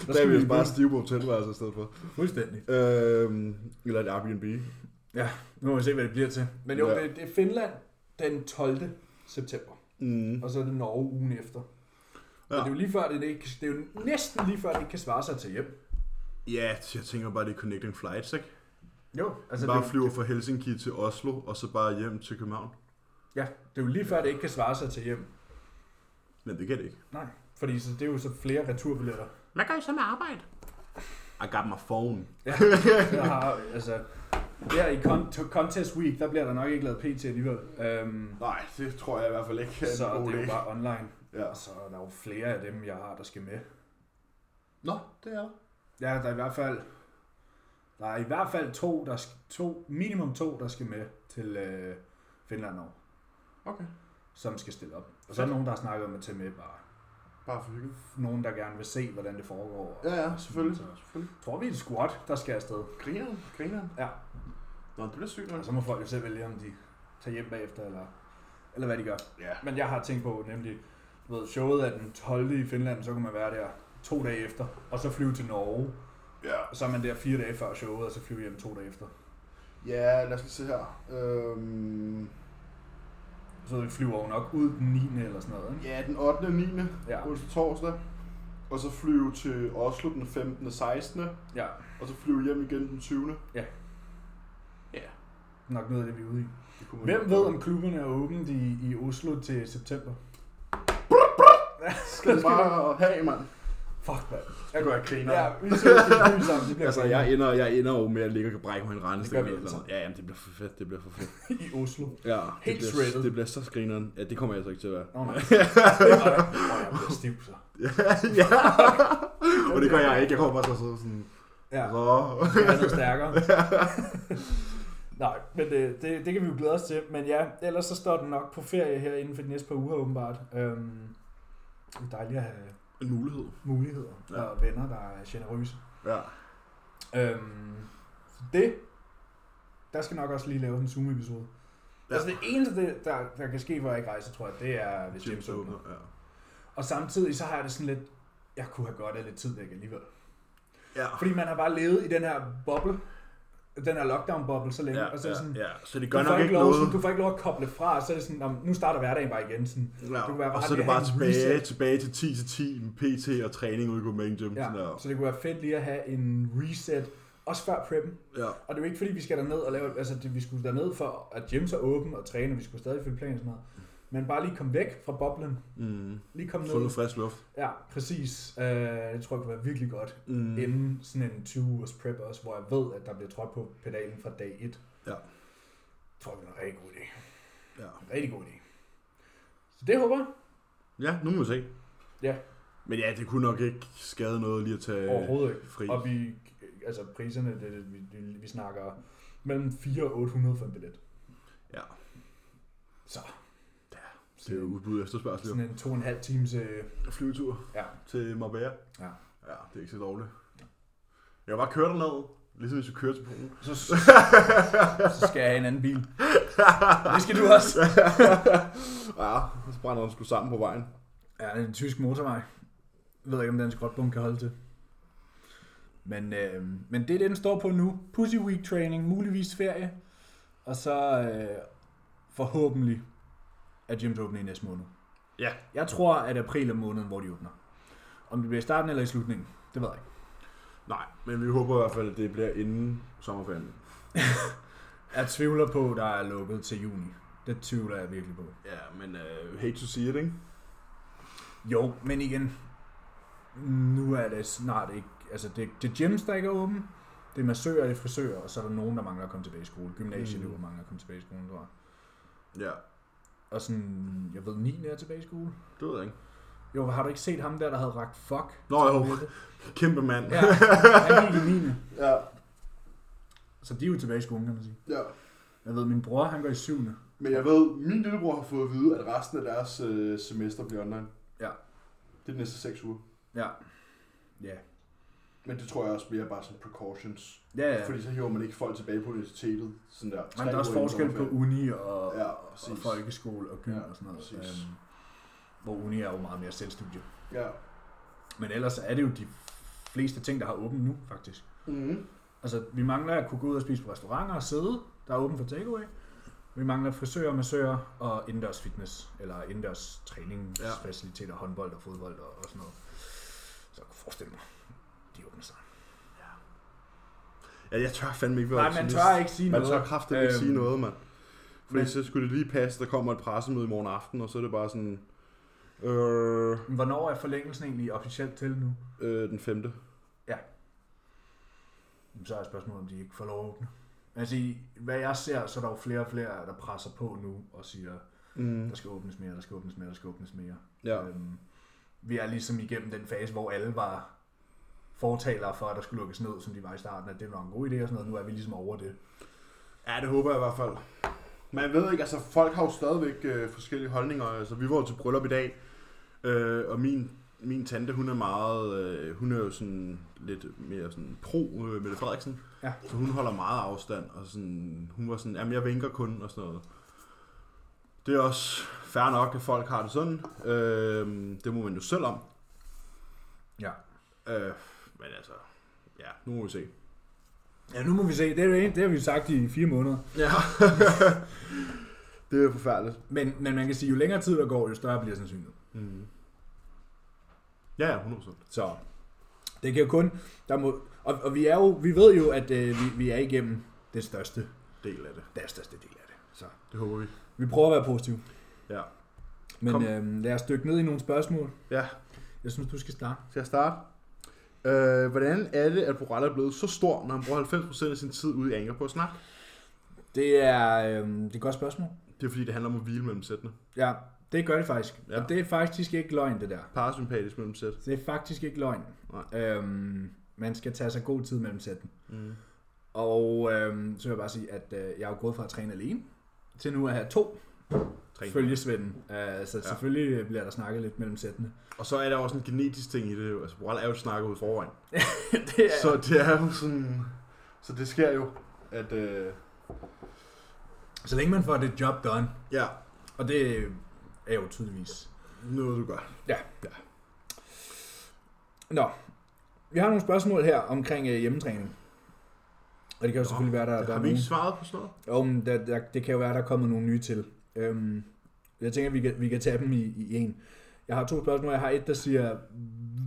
skal er vi vi jo bare bo. stive på hotelværelse i stedet for. Fuldstændig. Øhm, eller et Airbnb. Nu må vi se, hvad det bliver til. Men jo, Ja. det, det er Finland den 12. september. Mm. Og så er det Norge ugen efter. Ja. Ja. Men det er jo lige før, det, ikke, det er jo næsten lige før, det ikke kan svare sig til hjem. Ja, jeg tænker bare, det er connecting flights, ikke? Jo, altså Altså, bare det, flyver fra Helsinki til Oslo, og så bare hjem til København. Ja, Det er jo lige før, det ikke kan svare sig til hjem. Men det kan det ikke. Nej. Fordi så, det er jo så flere returbilletter. Hvad gør I så med arbejde? I got my phone. jeg har, altså, der i con- to- Contest Week, der bliver der nok ikke lavet pt alligevel. Øhm, Nej, det tror jeg i hvert fald ikke. er en så god det er jo idé. bare online. Ja. Og så er der jo flere af dem, jeg har, der skal med. Nå, det er der. Ja, der er i hvert fald, der er i hvert fald to, der skal, to minimum to, der skal med til øh, Finland over, Okay. som skal stille op. Og så er der nogen, der har snakket om at tage med bare. Bare for hygge. Nogen, der gerne vil se, hvordan det foregår. Ja, ja, selvfølgelig. Så selvfølgelig. tror vi er et squat, der skal afsted. Grineren, grineren. Ja. Altså, Nå, det bliver sygt nok. Og så må folk jo selv vælge, om de tager hjem bagefter, eller, eller hvad de gør. Ja. Men jeg har tænkt på nemlig, du ved, showet er den 12. i Finland, så kan man være der to dage efter, og så flyve til Norge. Ja. Og så er man der fire dage før showet, og så flyve hjem to dage efter. Ja, lad os lige se her. Øhm, Så flyver hun nok ud den 9. eller sådan noget, ikke? ja, den 8. og 9. Ja. onsdag torsdag. Og så flyve til Oslo den 15. og 16. Ja, Og så flyve hjem igen den 20. nok noget af det, vi er ude i. Det kunne man Hvem godt ved, gøre. om klubberne er åbent i, i Oslo til september? Skal du bare have, mand? Fuck, mand. Jeg kunne være griner. Ja, vi skal ud sammen, det bliver Altså, jeg ender, jeg ender jo med at ligge og brække mig en Det gør rendestik. vi eller alle sådan. Ja, jamen, det bliver for fedt, det bliver for fedt. i Oslo. Ja, Helt det, bliver, shredded. det bliver så skrineren. Ja, det kommer jeg altså ikke til at være. Nå, nej. Åh, jeg bliver stiv, så. ja, og det gør jeg ikke. Jeg kommer bare så sådan, sådan Ja. så. Det er noget stærkere. Nej, men det, det, det kan vi jo glæde os til. Men ja, ellers så står den nok på ferie her inden for de næste par uger åbenbart. Øhm, det er dejligt at have En mulighed. muligheder Ja. ja. og venner, der er generøse. Ja. Øhm, så det, der skal nok også lige lave en Zoom-episode. Ja. Ja. Altså det eneste, det- der, der kan ske, hvor jeg ikke rejser, tror jeg, det er, hvis James James åbner. åbner. Ja. Og samtidig så har jeg det sådan lidt, jeg kunne have godt af lidt tid væk alligevel. ja. Fordi man har bare levet i den her boble, den her lockdown-boble så længe, Ja, ja, og så er det ja, sådan, ja, så det du gør får, nok ikke ikke lov, noget. sådan, du får ikke lov at koble fra, og så er det sådan, "Nå, men nu starter hverdagen bare igen. Sådan. Ja. du kan være Og ret så er det ved at bare have en tilbage, reset. tilbage til 10 til 10 med PT og træning ude i Gourmet Gym. Ja. Sådan der. Så det kunne være fedt lige at have en reset, også før preppen. Ja. Og det er jo ikke fordi, vi skal derned og lave, altså det, vi skulle derned for, at gyms er åben og træne, og vi skulle stadig følge planen og sådan noget. Men bare lige komme væk fra boblen. Mm. Lige komme Få ned. noget frisk luft. Ja, præcis. Øh, det tror jeg kunne være virkelig godt. Mm. Mm. Inden sådan en 20 ugers prep også, hvor jeg ved, at der bliver trådt på pedalen fra dag 1. Ja. tror jeg, det er en rigtig god idé. Ja. En rigtig god idé. Så det håber jeg. ja, nu må vi se. Ja. Men ja, det kunne nok ikke skade noget lige at tage Overhovedet ikke. fri. Og vi, altså priserne, det, det, vi, det, vi snakker mellem 4 og 800 for en billet. Ja. Så. Ja. Det er jo udbud og efterspørgsel. Sådan jo. en to og en halv times... Øh, Flyvetur ja. til Marbella. Ja. Ja, det er ikke så dårligt. Jeg har bare kørt derned, ligesom hvis du kører til Polen. Så, så skal jeg have en anden bil. Det skal du også. Ja, og så brænder den sgu sammen på vejen. Ja, det er en tysk motorvej. Jeg ved ikke, om den skrotbund kan holde til. Men, øh, men det er det, den står på nu. Pussy Week Training, muligvis ferie. Og så øh, forhåbentlig er gyms åbne i næste måned. Ja. Jeg tror, at april er måneden, hvor de åbner. Om det bliver i starten eller i slutningen, det ved jeg ikke. Nej, men vi håber i hvert fald, at det bliver inden sommerferien. Jeg tvivler på, at der er lukket til juni. Det tvivler jeg virkelig på. Ja, men uh, hate to see it, ikke? Jo, men igen, nu er det snart ikke, altså det, det er gyms, der ikke er åben, det er massører, det er frisører, og så er der nogen, der mangler at komme tilbage i skole. Gymnasieelever mm. mangler at komme tilbage i skolen, tror jeg. Ja, Og sådan, jeg ved, 9 er tilbage i skole. det ved jeg ikke. Jo, har du ikke set ham der, der havde ragt fuck? Nå jo, kæmpe mand. Ja, han gik i 9. ja. Så de er jo tilbage i skolen, kan man sige. ja. Jeg ved, min bror, han går i 7. Men jeg ved, min lillebror har fået at vide, at resten af deres øh, semester bliver online. Ja. Det er de næste seks uger. Ja. Ja. Men det tror jeg også bliver bare sådan precautions. Ja, ja. Ja. Fordi så hiver man ikke folk tilbage på universitetet. Sådan der. Men der er også forskel på uni og, Ja, og præcis. folkeskole og gym Ja, og sådan noget. præcis. Øhm, hvor uni er jo meget mere selvstudie. Ja. Men ellers er det jo de fleste ting, der har åbent nu, faktisk. Mm-hmm. Altså, vi mangler at kunne gå ud og spise på restauranter og sidde, der er åbent for takeaway. Vi mangler frisører, massører og indendørs fitness, eller indendørs træningsfaciliteter, ja. håndbold og fodbold og, og sådan noget. Så jeg kunne forestille mig, de åbner sig. Ja, jeg tør fandme ikke være Nej, man optimist. tør ikke sige Man noget. tør kraftigt ikke Øhm, sige noget, mand. Fordi men- så skulle det lige passe, der kommer et pressemøde i morgen aften, og så er det bare sådan... Øh, Men Øhm, Hvornår er forlængelsen egentlig officielt til nu? øh, den femte. Jamen, Så er spørgsmålet, om de ikke får lov at åbne. Altså, i- hvad jeg ser, så er der jo flere og flere, der presser på nu og siger, Mm. der skal åbnes mere, der skal åbnes mere, der skal åbnes mere. Ja. Øhm, vi er ligesom igennem den fase, hvor alle var fortalere for, at der skulle lukkes ned, som de var i starten, at det var en god idé og sådan noget. Nu er vi ligesom over det. Ja, det håber jeg i hvert fald. Man ved ikke, altså folk har jo stadigvæk øh, forskellige holdninger. Altså, vi var jo til bryllup i dag, øh, og min, min tante, hun er meget, øh, hun er jo sådan lidt mere sådan pro øh, Mette Frederiksen. Ja. Så hun holder meget afstand, og sådan, hun var sådan, jamen jeg vinker kun, og sådan noget. Det er også fair nok, at folk har det sådan. Øh, det må man jo selv om. Ja. Øh, men altså, ja, nu må vi se. Ja, nu må vi se. Det, er jo en- det har vi jo sagt i fire måneder. Ja. det er forfærdeligt. Men, men man kan sige, jo længere tid der går, jo større bliver sandsynligheden. Mm. Ja, ja, 100%. Så det kan jo kun... Der må, og, og, vi, er jo, vi ved jo, at øh, vi, vi er igennem det største, del af det. der største del af det. Så Det håber vi. vi prøver at være positive. Ja. Kom. Men øh, lad os dykke ned i nogle spørgsmål. Ja. Jeg synes, du skal starte. Skal jeg starte? Øh, hvordan er det, at Borrell er blevet så stor, når han bruger 90% af sin tid ude i Anker på at snakke? Det er, øh, det er et godt spørgsmål. Det er fordi, det handler om at hvile mellem sættene. Ja, det gør det faktisk. Ja. Ja. Og det er faktisk ikke løgn, det der. Parasympatisk mellem sæt. Det er faktisk ikke løgn. Nej. Øhm, man skal tage sig god tid mellem sætten. Mm. Og øhm, så vil jeg bare sige, at øh, jeg er jo gået fra at træne alene, til nu at have to Træn. følgesvenden. Øh, så ja. selvfølgelig bliver der snakket lidt mellem sættene. Og så er der også en genetisk ting i det. jo. Altså, Borrell er jo et snakker ud forvejen. det er, Så det er jo sådan... Så det sker jo, at... Øh, så længe man får det job done, ja, og det er jo tydeligvis. noget du gør. Ja. ja. Nå, vi har nogle spørgsmål her omkring øh, hjemmetræning. Og det kan jo selvfølgelig være, der, der er Har vi nogen... ikke svaret på sådan noget? Jo, men der, der, det kan jo være, der er kommet nogle nye til. Øhm, jeg tænker, vi kan, vi kan tage dem i, i en. Jeg har to spørgsmål. Jeg har et, der siger,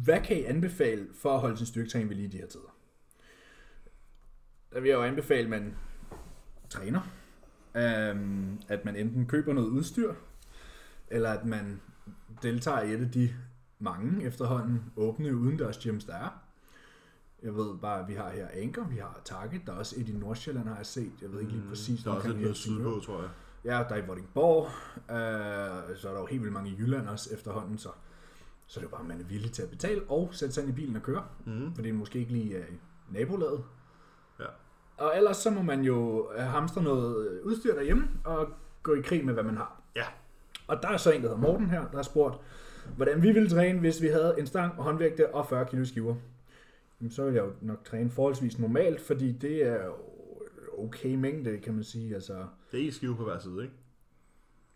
hvad kan I anbefale for at holde sin styrketræning ved lige i de her tider? Der vil jeg jo anbefale, at man træner. Øhm, at man enten køber noget udstyr, eller at man deltager i et af de mange efterhånden åbne udendørs gyms, der er. Jeg ved bare, at vi har her Anker, vi har Target, der er også et i Nordsjælland, har jeg set. Jeg ved ikke lige præcis. Mm, Der er også omkring lidt noget Helsingør. sydpå, tror jeg. Ja, der er i Vordingborg. Øh, så er der jo helt vildt mange i Jylland også efterhånden, så, så er det jo bare, at man er villig til at betale og sætte sig ind i bilen og køre, Mm. for det er måske ikke lige øh, nabolaget. Ja. Og ellers så må man jo øh, hamstre noget udstyr derhjemme og gå i krig med, hvad man har. Ja. Og der er så en, der hedder Morten her, der har spurgt, hvordan vi ville træne, hvis vi havde en stang og håndvægte og 40 kilo skiver. Jamen, så ville jeg jo nok træne forholdsvis normalt, fordi det er jo okay mængde, kan man sige. Altså, Det er ikke skive på hver side, ikke?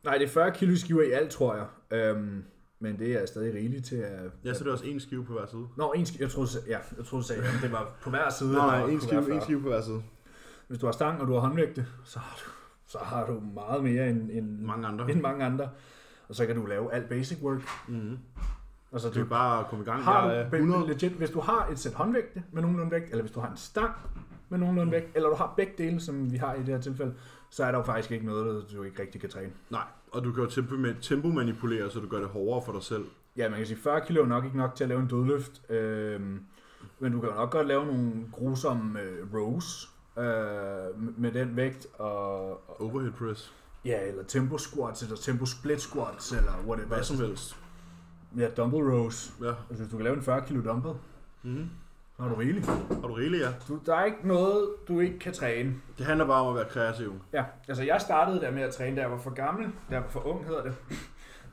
nej, det er 40 kilo skiver i alt, tror jeg. Øhm, men det er stadig rigeligt til at... Ja, så er det også en skive på hver side. Nå, en skive, jeg troede, du sagde- ja, jeg troede, du sagde, at det var på hver side. Nej, og nej, en kunne være skive, 40. en skive på hver side. Hvis du har stang, og du har håndvægte, så har du, så har du meget mere end, end, Mange andre. end mange andre. Og så kan du lave alt basic work. Mm-hmm. Altså, Det er du, bare at komme i gang. har Jeg er du 100 100... legit, hvis du har et sæt håndvægte med nogenlunde vægt, eller hvis du har en stang med nogenlunde vægt, eller du har begge dele, som vi har i det her tilfælde, så er der jo faktisk ikke noget, du ikke rigtig kan træne. Nej, og du kan jo tempo- tempomanipulere, så du gør det hårdere for dig selv. Ja, man kan sige, 40 kilo er nok ikke nok til at lave en dødløft, øh, men du kan jo nok godt lave nogle grusomme øh, rows øh, med den vægt, og, og Overhead press. Ja, eller tempo squats, eller tempo split squats, eller whatever. Hvad som helst. Ja, dumbbell rows. Ja. Altså, hvis du kan lave en 40 kilo dumbbell, Mm-hmm. så er du rigeligt. Og du rigeligt, ja. Du, der er ikke noget, du ikke kan træne. Det handler bare om at være kreativ. Ja, altså jeg startede der med at træne, da jeg var for gammel. Da jeg var for ung, hedder det. Da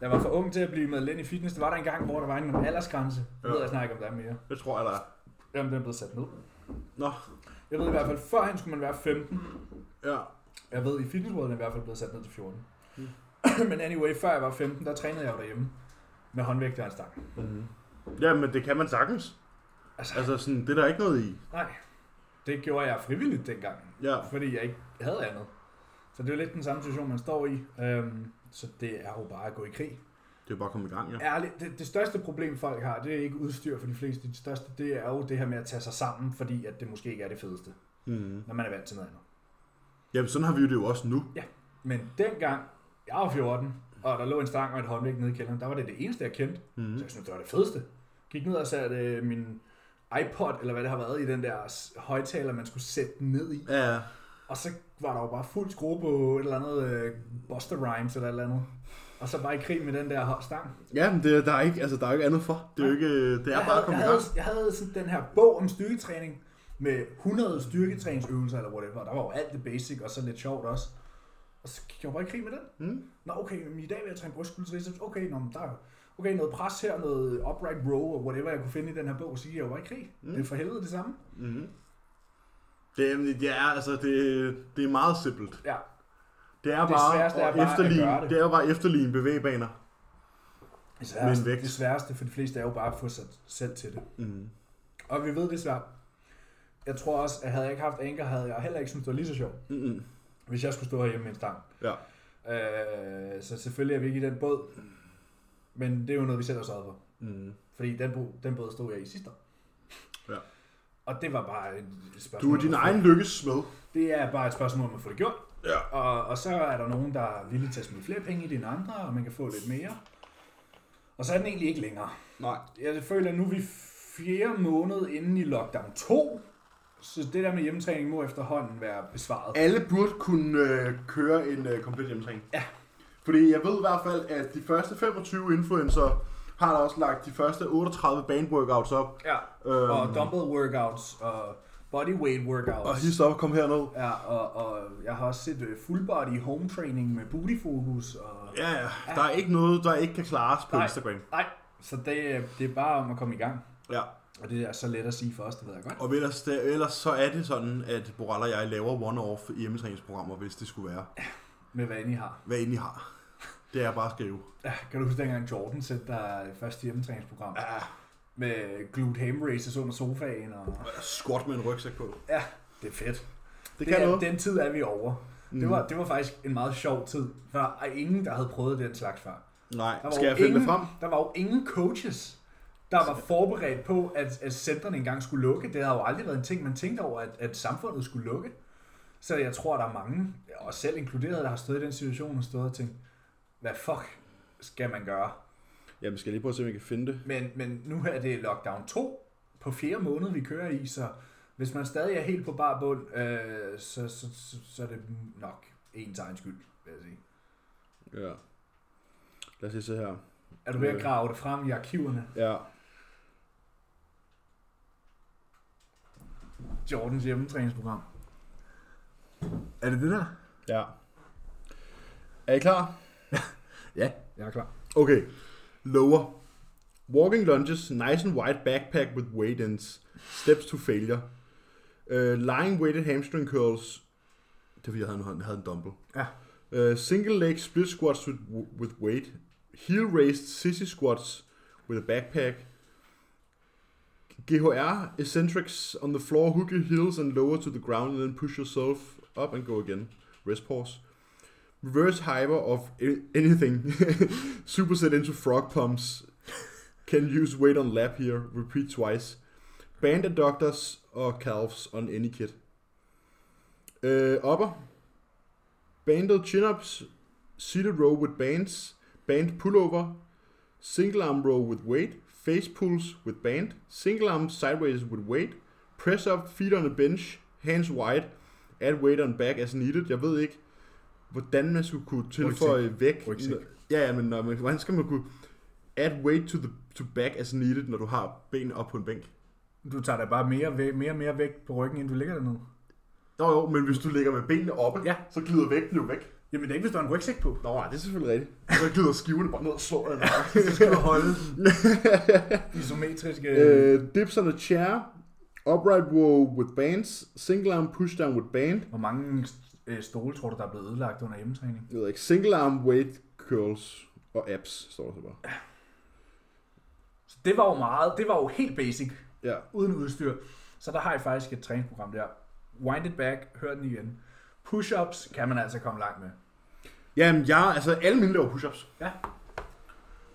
jeg var for ung til at blive medlem i fitness, der var der en gang, hvor der var en aldersgrænse. Jeg ved Ja. jeg snakker om der er mere. Det tror jeg, der er. Jamen, den blev sat ned. Nå, Jeg ved i hvert fald, førhen skulle man være 15. ja. Jeg ved, i Fitness World er den i hvert fald blevet sat ned til 14. Mm. Men anyway, før jeg var 15, der trænede jeg jo derhjemme med håndvægt og en stang. Mm-hmm. Ja, men det kan man sagtens. Altså- Altså, sådan, det er der ikke noget i. Nej, det gjorde jeg frivilligt dengang, Ja. fordi jeg ikke havde andet. Så det er jo lidt den samme situation, man står i. Øhm, så det er jo bare at gå i krig. Det er jo bare at komme i gang, ja. Ærligt, det, det største problem, folk har, det er ikke udstyr for de fleste. Det største, det er jo det her med at tage sig sammen, fordi at det måske ikke er det fedeste, Mm-hmm. når man er vant til noget andet. Jamen, sådan har vi det jo også nu. Men dengang, jeg var 14, og der lå en stang og et håndvægt nede i kælderen, der var det det eneste, jeg kendte. Mm-hmm. Så jeg synes, det var det fedeste. Gik ned og satte øh, min iPod, eller hvad det har været, i den der s- højtaler, man skulle sætte den ned i. Ja, ja. Og så var der jo bare fuld skrue på et eller andet øh, Buster Rhymes eller et eller andet. Og så bare i krig med den der ho- stang. Ja, men det, der, er ikke, altså, der er jo ikke andet for. Det er jo ikke, det er jeg, bare havde, at komme jeg, i gang. havde, jeg havde sådan den her bog om styrketræning med 100 styrketræningsøvelser eller whatever. Der var jo alt det basic og så lidt sjovt også. Og så gik jeg jo bare i krig med den. Mm. Nå okay, men i dag vil jeg træne brystskulds triceps. Okay, nå, men der er jo- okay, noget pres her, noget upright row og whatever jeg kunne finde i den her bog. Så gik jeg jo bare i krig. Mm. Mm. Det er for helvede det samme. Mm-hmm. Det, er- det, er, altså, det, det er meget simpelt. Ja, Det er Det bare, sværeste er at bare at efterligne, gøre det. det er jo bare at efterligne bevægbaner. det sværeste, vægt. det sværeste for de fleste er jo bare at få sig selv til det. Mm. Og vi ved det er svært. Jeg tror også, at havde jeg ikke haft anker, havde jeg heller ikke syntes, det var lige så sjovt, Mm-mm. hvis jeg skulle stå herhjemme med en stang. Ja. Øh, så selvfølgelig er vi ikke i den båd, men det er jo noget, vi selv har sørget for. Mm. Fordi den, bo- den båd stod jeg i sidste år. Ja. Og det var bare et spørgsmål. Du er din om at få- egen lykkes smed. Det er bare et spørgsmål om at få det gjort. Ja. Og, og så er der nogen, der er villige til at smide flere penge i det end andre, og man kan få lidt mere. Og så er den egentlig ikke længere. Nej. Jeg føler, at nu er vi fjerde måned inde i lockdown 2, så det der med hjemmetræning må efterhånden være besvaret. Alle burde kunne øh, køre en øh, komplet hjemmetræning. Ja. Fordi jeg ved i hvert fald, at de første 25 influencer har der også lagt de første 38 baneworkouts op. Ja, Øhm, og dumbbell workouts, og bodyweight workouts. og hist op og kom herned. Ja, og, og jeg har også set øh, full body home training med booty focus. Og... Ja, ja. Der er ikke noget, der ikke kan klares på Nej. Instagram. Nej, så det, det er bare om at komme i gang. Ja. Og det er så let at sige for os, det ved jeg godt. Og ellers, det, ellers så er det sådan, at Boral og jeg laver one-off hjemmetræningsprogrammer, hvis det skulle være. Med hvad end I har. Hvad end I har. Det er bare at skrive. Ja, kan du huske dengang Jordan sendte dig første hjemmetræningsprogram? Ja. Med glute ham raises under sofaen. Og... Squat med en rygsæk på. Ja, det er fedt. Det kan er, noget. Mhm. Den tid er vi over. Mm. Det, var, det var faktisk en meget sjov tid. Der var ingen, der havde prøvet den slags før. Der Nej, var skal jo jeg finde det ingen, frem? Der var jo ingen coaches, der var forberedt på, at, at centrene engang skulle lukke. Det havde jo aldrig været en ting, man tænkte over, at, at samfundet skulle lukke. Så jeg tror, der er mange, og selv inkluderet, der har stået i den situation og stået og tænkt, hvad fuck skal man gøre? Jamen, skal jeg lige prøve at se, om jeg kan finde det? Men, men nu er det lockdown 2 på fjerde måned, vi kører i, så hvis man stadig er helt på bar bund, øh, så, så, så, så er det nok ens egen skyld, vil jeg sige. Ja. Lad os lige se her. Er du ved at Øh. grave det frem i arkiverne? Ja. Jordans hjemmetræningsprogram. Er det det der? Ja. Er I klar? Ja, Jeg er klar. Okay. Lower. Walking lunges, nice and wide backpack with weight ends. Steps to failure. Uh, lying weighted hamstring curls. Det er fordi, jeg havde en, hånd- jeg havde en dumbbell. Ja. Uh, single leg split squats with, with weight. Heel raised sissy squats with a backpack. GHR, eccentrics on the floor, hook your heels and lower to the ground and then push yourself up and go again. Rest pause. Reverse hyper of a- anything. Superset into frog pumps. Can use weight on lap here. Repeat twice. Band adductors or calves on any kit. Uh, upper. Banded chin ups. Seated row with bands. Band pullover. Single arm row with weight. Face pulls with band. Single arm sideways with weight. Press up, feet on a bench. Hands wide. Add weight on back as needed. Jeg ved ikke, hvordan man skulle kunne tilføje vægt. Rygsæk. Ja, ja, men når man, hvordan skal man kunne add weight to, the, to back as needed, når du har ben op på en bænk? Du tager da bare mere, væ- mere og mere vægt på ryggen, end du ligger dernede. Jo, jo, men hvis du ligger med benene oppe, Ja. så glider vægten jo væk. Jamen det er ikke, hvis du har en rygsæk på. Nå, nej, det er selvfølgelig rigtigt. Så glider skivene bare ned og slår dig. i nakken. Så skal du holde isometriske... Øh, dips on a chair, upright row with bands, single arm push down with band, Hvor mange øh, stole tror du, der er blevet ødelagt under hjemmetræning? jeg ved ikke, single arm weight curls og abs, står der så bare. Så det var jo meget, det var jo helt basic, Ja, uden udstyr. Så der har jeg faktisk et træningsprogram der. Wind it back, hør den igen. Push-ups kan man altså komme langt med. Jamen, jeg, altså alle mine laver push-ups. Ja.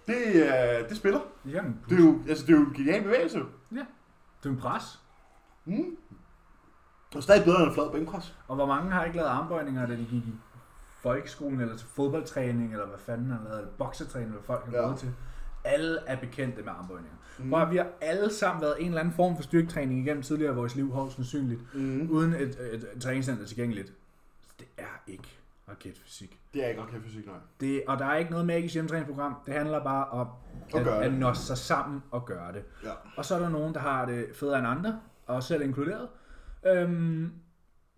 Det, øh, det spiller. Det er en, Det er jo, altså, det er jo en genial bevægelse. ja, det er en pres. Mm. Og stadig bedre end en flad bænkpres. Og hvor mange har ikke lavet armbøjninger, da de gik i folkeskolen, eller til fodboldtræning, eller hvad fanden han lavede, eller boksetræning, eller hvad folk har Ja. ja. gået til. Alle er bekendte med armbøjninger. Mm. Bare vi har alle sammen været en eller anden form for styrketræning igennem tidligere i vores liv, højst sandsynligt, Mm. uden et, et, et træningscenter tilgængeligt. Det er ikke raketfysik. Det er ikke nok fysik, nej. Det, og der er ikke noget magisk hjemmetræningsprogram. Det handler bare om At at, gøre at det. nå sig sammen og gøre det. Ja. Og så er der nogen, der har det federe end andre, og selv inkluderet. Øhm,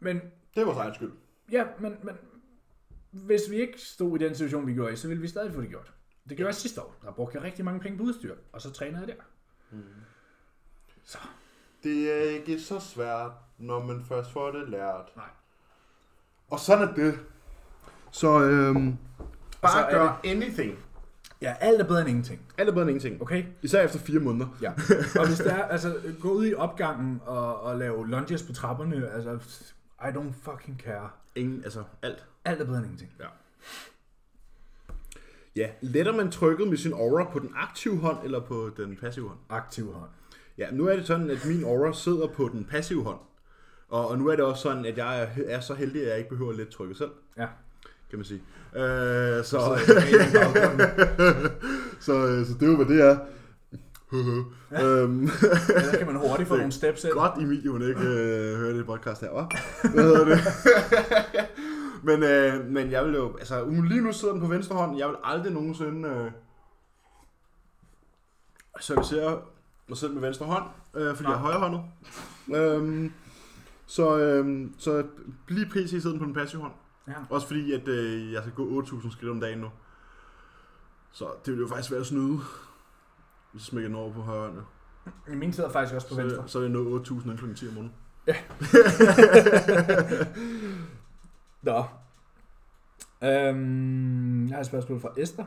men Det var vores egen skyld. Ja, men, men hvis vi ikke stod i den situation, vi gjorde i, så ville vi stadig få det gjort. Det gjorde jeg sidste år. Der brugte jeg rigtig mange penge på udstyr, og så trænede jeg der. Så, Det er ikke så svært, når man først får det lært. nej. Og sådan er det. Så øhm, Og så bare er gør anything. Ja, alt er bedre end ingenting, Alt er bedre end ingenting. okay? Især efter fire måneder. Ja. og hvis der er, altså, gå ud i opgangen og, og lave lunges på trapperne, altså, I don't fucking care. Ingen, altså alt. Alt er bedre end ingenting. Ja, letter man trykket med sin aura på den aktive hånd eller på den passive hånd? Aktiv hånd. Ja, nu er det sådan, at min aura sidder på den passive hånd. Og, og nu er det også sådan, at jeg er, er så heldig, at jeg ikke behøver at lette trykket selv, Ja. kan man sige. Øh, så, Så, så, øh, så det er jo, hvad det er. øhm, så kan man hurtigt få nogle steps ind. Godt, Emil, hun ikke øh, hører det podcast her. Hva? Hvad hedder det? men, øh, men jeg vil jo... Altså, hun- lige nu sidder den på venstre hånd. Jeg vil aldrig nogensinde øh, servicere mig selv med venstre hånd, øh, fordi Nej. jeg er højrehåndet. Øhm, så, øhm, så lige pc sidder den på den passive hånd. Ja. Også fordi, at øh, jeg skal gå 8.000 skridt om dagen nu. Så det vil jo faktisk være at snyde, hvis jeg smækker den over på højre hånd. jo. I min tid er faktisk også på Så, venstre. så er jeg nået 8.000 inden klokken 10 om morgenen. Nå. Øhm, jeg har et spørgsmål fra Esther.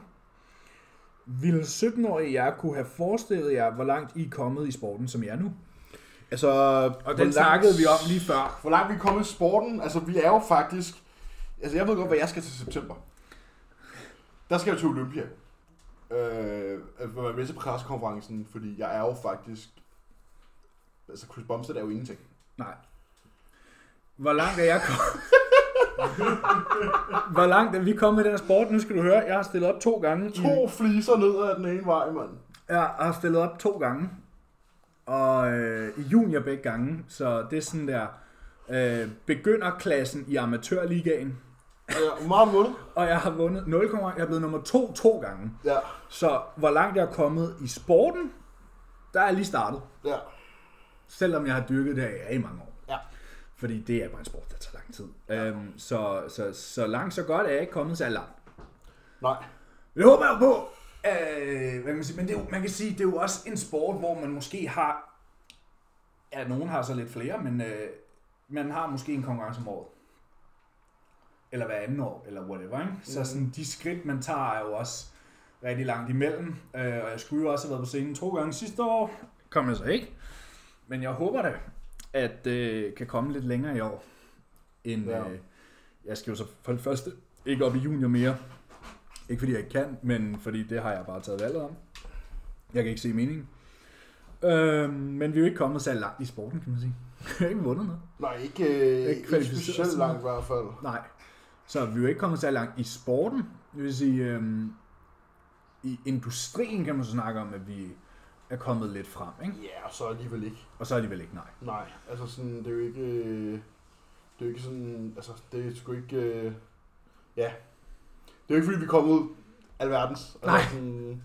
Vil 17-årige jeg kunne have forestillet jer, hvor langt I er kommet i sporten, som I er nu? Altså, Og den snakkede vi om lige før. Hvor langt vi er kommet i sporten, altså vi er jo faktisk... Altså jeg ved godt, hvad jeg skal til september. Der skal jeg til Olympia. Øh, at være med til pressekonferencen, fordi jeg er jo faktisk... Altså Chris Bumstead er jo ingenting. Nej. Hvor langt er jeg kommet? hvor langt er vi kommet i den her sport? Nu skal du høre, jeg har stillet op to gange. i- To fliser ned ad den ene vej, mand. Jeg har stillet op to gange. Og øh, i junior begge gange. Så det er sådan der... Øh, begynderklassen i amatørligaen. Ja, meget måde. Og jeg har vundet 0, jeg er blevet nummer 2 to gange. Ja, Så hvor langt jeg er kommet i sporten, der er jeg lige startet. ja. Selvom jeg har dyrket det her i mange år. Ja. Fordi det er bare en sport, der tager lang tid. Ja. Øhm, så, så, så langt så godt er jeg ikke kommet så langt. Nej. Men det håber jeg jo på. Øh, hvad kan man sige? Men det er jo, man kan sige, det er jo også en sport, hvor man måske har... Ja, nogen har så lidt flere, men øh, man har måske en konkurrence om året. Eller hver anden år, eller whatever. Ikke? Så sådan, de skridt, man tager, er jo også rigtig langt imellem. Øh, og jeg skulle jo også have været på scenen to gange sidste år. Kom jeg så ikke. Men jeg håber da, at øh, kan komme lidt længere i år. End, Ja. øh, jeg skal jo så for det første ikke op i junior mere. Ikke fordi jeg ikke kan, men fordi det har jeg bare taget valget om. Jeg kan ikke se meningen. Øh, men vi er jo ikke kommet så langt i sporten, kan man sige. Jeg har ikke vundet noget. Nej, ikke, øh, Ikke ikke, kvalificeret ikke specielt sådan. langt i hvert fald. Nej. Så vi er jo ikke kommet så langt i sporten. Det vil sige, øhm, i industrien kan man så snakke om, at vi er kommet lidt frem. Ikke? Ja, og så alligevel ikke. Og så er de vel ikke nej. Nej, altså sådan, det er jo ikke... øh, Det er jo ikke sådan... Altså, det er sgu ikke... øh, Ja. Det er jo ikke, fordi vi kom ud alverdens. Altså, Nej. Sådan,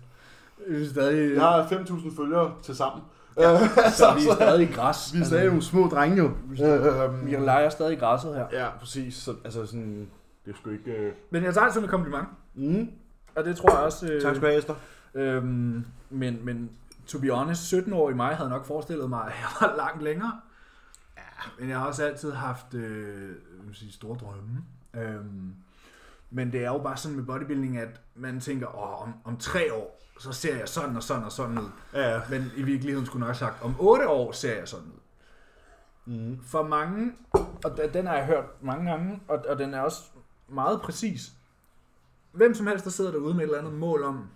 Vi er stadig, vi har 5.000 følgere til sammen. Øh, så vi er stadig i græs. Vi er stadig nogle små drenge jo. Altså, vi leger stadig i græsset her. Øh, Ja, præcis. Så, altså sådan, det er sgu ikke... Øh... Men jeg tager det som et kompliment. Mm. Og det tror jeg også... Øh, Tak skal du have, Esther. Øhm, men, men to be honest, 17 år i mig havde nok forestillet mig, at jeg var langt længere. Ja, men jeg har også altid haft øh, hvad skal man sige, store drømme. Øhm, men det er jo bare sådan med bodybuilding, at man tænker, Åh, om, om tre år, så ser jeg sådan og sådan og sådan ud. Ja. Men i virkeligheden skulle jeg nok have sagt, om otte år ser jeg sådan ud. Mm. For mange, og d- den har jeg hørt mange gange, og, og den er også meget præcis. Hvem som helst, der sidder derude med et eller andet mål om,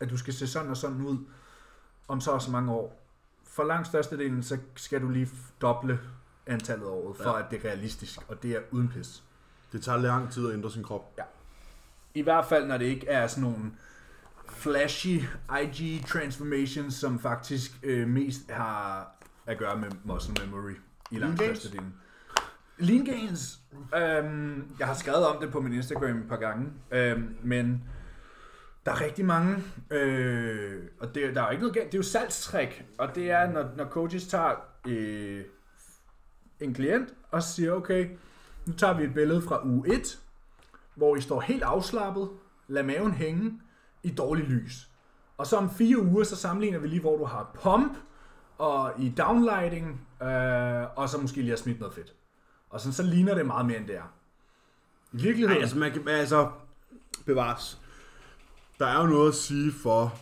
at du skal se sådan og sådan ud, om så og så mange år. For langt størstedelen, så skal du lige f- doble antallet af året, for ja. at det er realistisk, og det er uden pis. Det tager lang tid at ændre sin krop. I hvert fald, når det ikke er sådan nogle flashy IG transformations, som faktisk øh, mest har at gøre med muscle memory i langt gains? størstedelen. Lean gains. Øhm, jeg har skrevet om det på min Instagram et par gange, øhm, men der er rigtig mange, øh, og det, der er jo ikke noget galt. Det er jo salgstrik, og det er, når, når coaches tager øh, en klient og siger, okay, nu tager vi et billede fra uge 1, hvor I står helt afslappet, lad maven hænge i dårlig lys. Og så om fire uger, så sammenligner vi lige, hvor du har pump, og i downlighting, øh, og så måske lige har smidt noget fedt. Og sådan, så ligner det meget mere, end det er. I virkeligheden, Nej, altså, man kan, altså, bevares. Der er jo noget at sige for,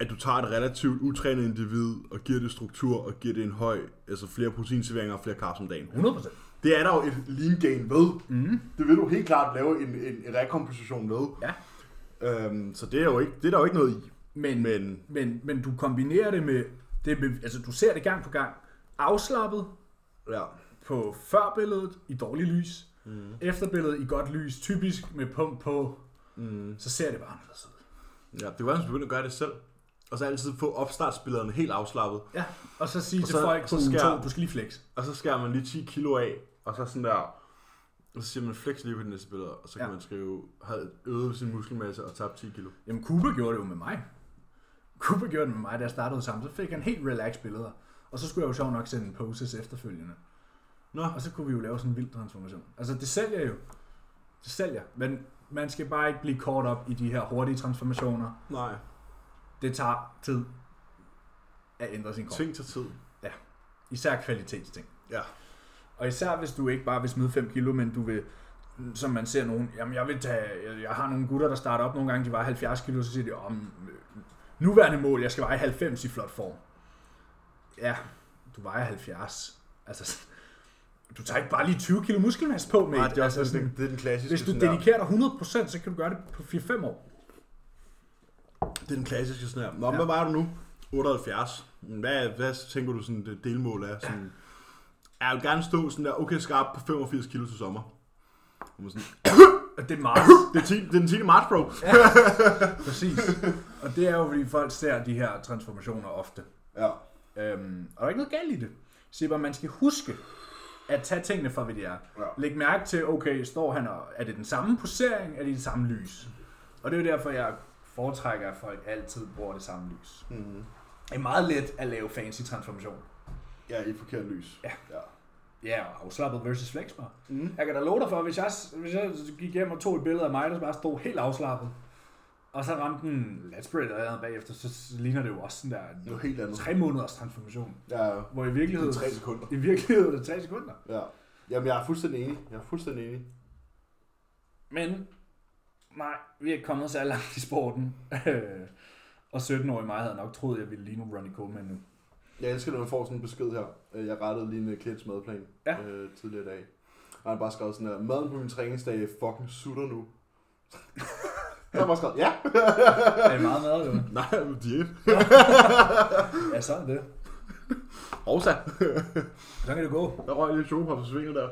at du tager et relativt utrænet individ og giver det struktur og giver det en høj, altså flere proteinserveringer og flere carbs om dagen. 100%. Det er der jo et lean gain ved. Mm. Det vil du helt klart lave en, en, en rekomposition med. Mhm. Ja. Øhm, så det er, jo ikke, det er der jo ikke noget i. Men, men. Men men, men du kombinerer det med, det, med- altså du ser det gang på gang, afslappet, ja, på førbilledet i dårlig lys, mm. efterbilledet i godt lys, typisk med pump på, mm. så ser det bare anderledes ud. ja det kan være, at man begynder at gøre det selv. Og så altid få opstartsbillederne helt afslappet. Ja, og så sige Og til så- folk, så så skal skal- to, du skal lige flex. Og så skærer man lige 10 kilo af, og så sådan der... Og så siger man flex lige på det næste billede, og så kan Ja. ja. man skrive, havde øget sin muskelmasse og tabt 10 kilo. Jamen, Cooper gjorde det jo med mig. Cooper gjorde det med mig, da jeg startede sammen. Så fik han helt relaxed billeder. Og så skulle jeg jo sjovt nok sende poses efterfølgende. Nå. Og så kunne vi jo lave sådan en vild transformation. Altså, det sælger jo. Det sælger. Men man skal bare ikke blive caught op i de her hurtige transformationer. Nej. Det tager tid at ændre sin krop. Ting til tid. Især kvalitetsting. Ja. Og især hvis du ikke bare vil smide 5 kilo, men du vil, som man ser nogen, jamen jeg vil tage, jeg- jeg har nogle gutter, der starter op nogle gange, de vejer 70 kilo, så siger de, om øh, nuværende mål, jeg skal veje 90 i flot form. Ja, du vejer 70. Altså, du tager ikke bare lige 20 kilo muskelmasse på, med. Nej, det er også altså, sådan, sådan, det, det er den klassiske. hvis du sådan der- dedikerer dig 100%, så kan du gøre det på 4-5 år. Det er den klassiske sådan her. Nå, Ja. ja. hvad var du nu? 78. Hvad, hvad tænker du sådan, det delmål er? Sådan, ja. Jeg vil gerne stå sådan der, okay skarp på 85 kilo til sommer. Og man Sådan, Og det er meget det, er 10, det er den 10. marts, bro. præcis. Og det er jo, fordi folk ser de her transformationer ofte. Ja. Øhm, og der er ikke noget galt i det. Sipper, man skal huske at tage tingene for, hvad de er. Ja. Læg mærke til, okay, står han og er det den samme posering, er det det samme lys? Og det er jo derfor, jeg foretrækker, at folk altid bruger det samme lys. Mm-hmm. Det er meget let at lave fancy transformation. Ja, i forkert lys. Ja. ja. Ja, og afslappet versus flexbar. Mm. Jeg kan da love dig for, hvis jeg, hvis jeg gik hjem og tog et billede af mig, der bare stod helt afslappet, Og så ramte den Latsbury og jeg bagefter, så ligner det jo også sådan der Noget helt andet. tre måneders transformation. Ja, ja. Hvor i Det virkeligheden... er tre sekunder. I virkeligheden er det tre sekunder. Ja. Jamen, jeg er fuldstændig enig. Jeg er fuldstændig enig. Men, nej, vi er ikke kommet så langt i sporten. Øh, og 17-årig mig havde nok troet, jeg ville ligne Ronnie Coleman nu. Jeg elsker, når man får sådan en besked her. Øh, Jeg rettede lige en øh, klients madplan Ja. øh, tidligere i dag. Og han har bare skrevet sådan her, maden på min træningsdag fucking sutter nu. jeg har bare skrevet, ja. Er I meget mad, eller hvad? Nej, jeg er på diæt. Ja, sådan er det. Rosa. Sådan kan det gå. Der røg lige chokopop på svinget der.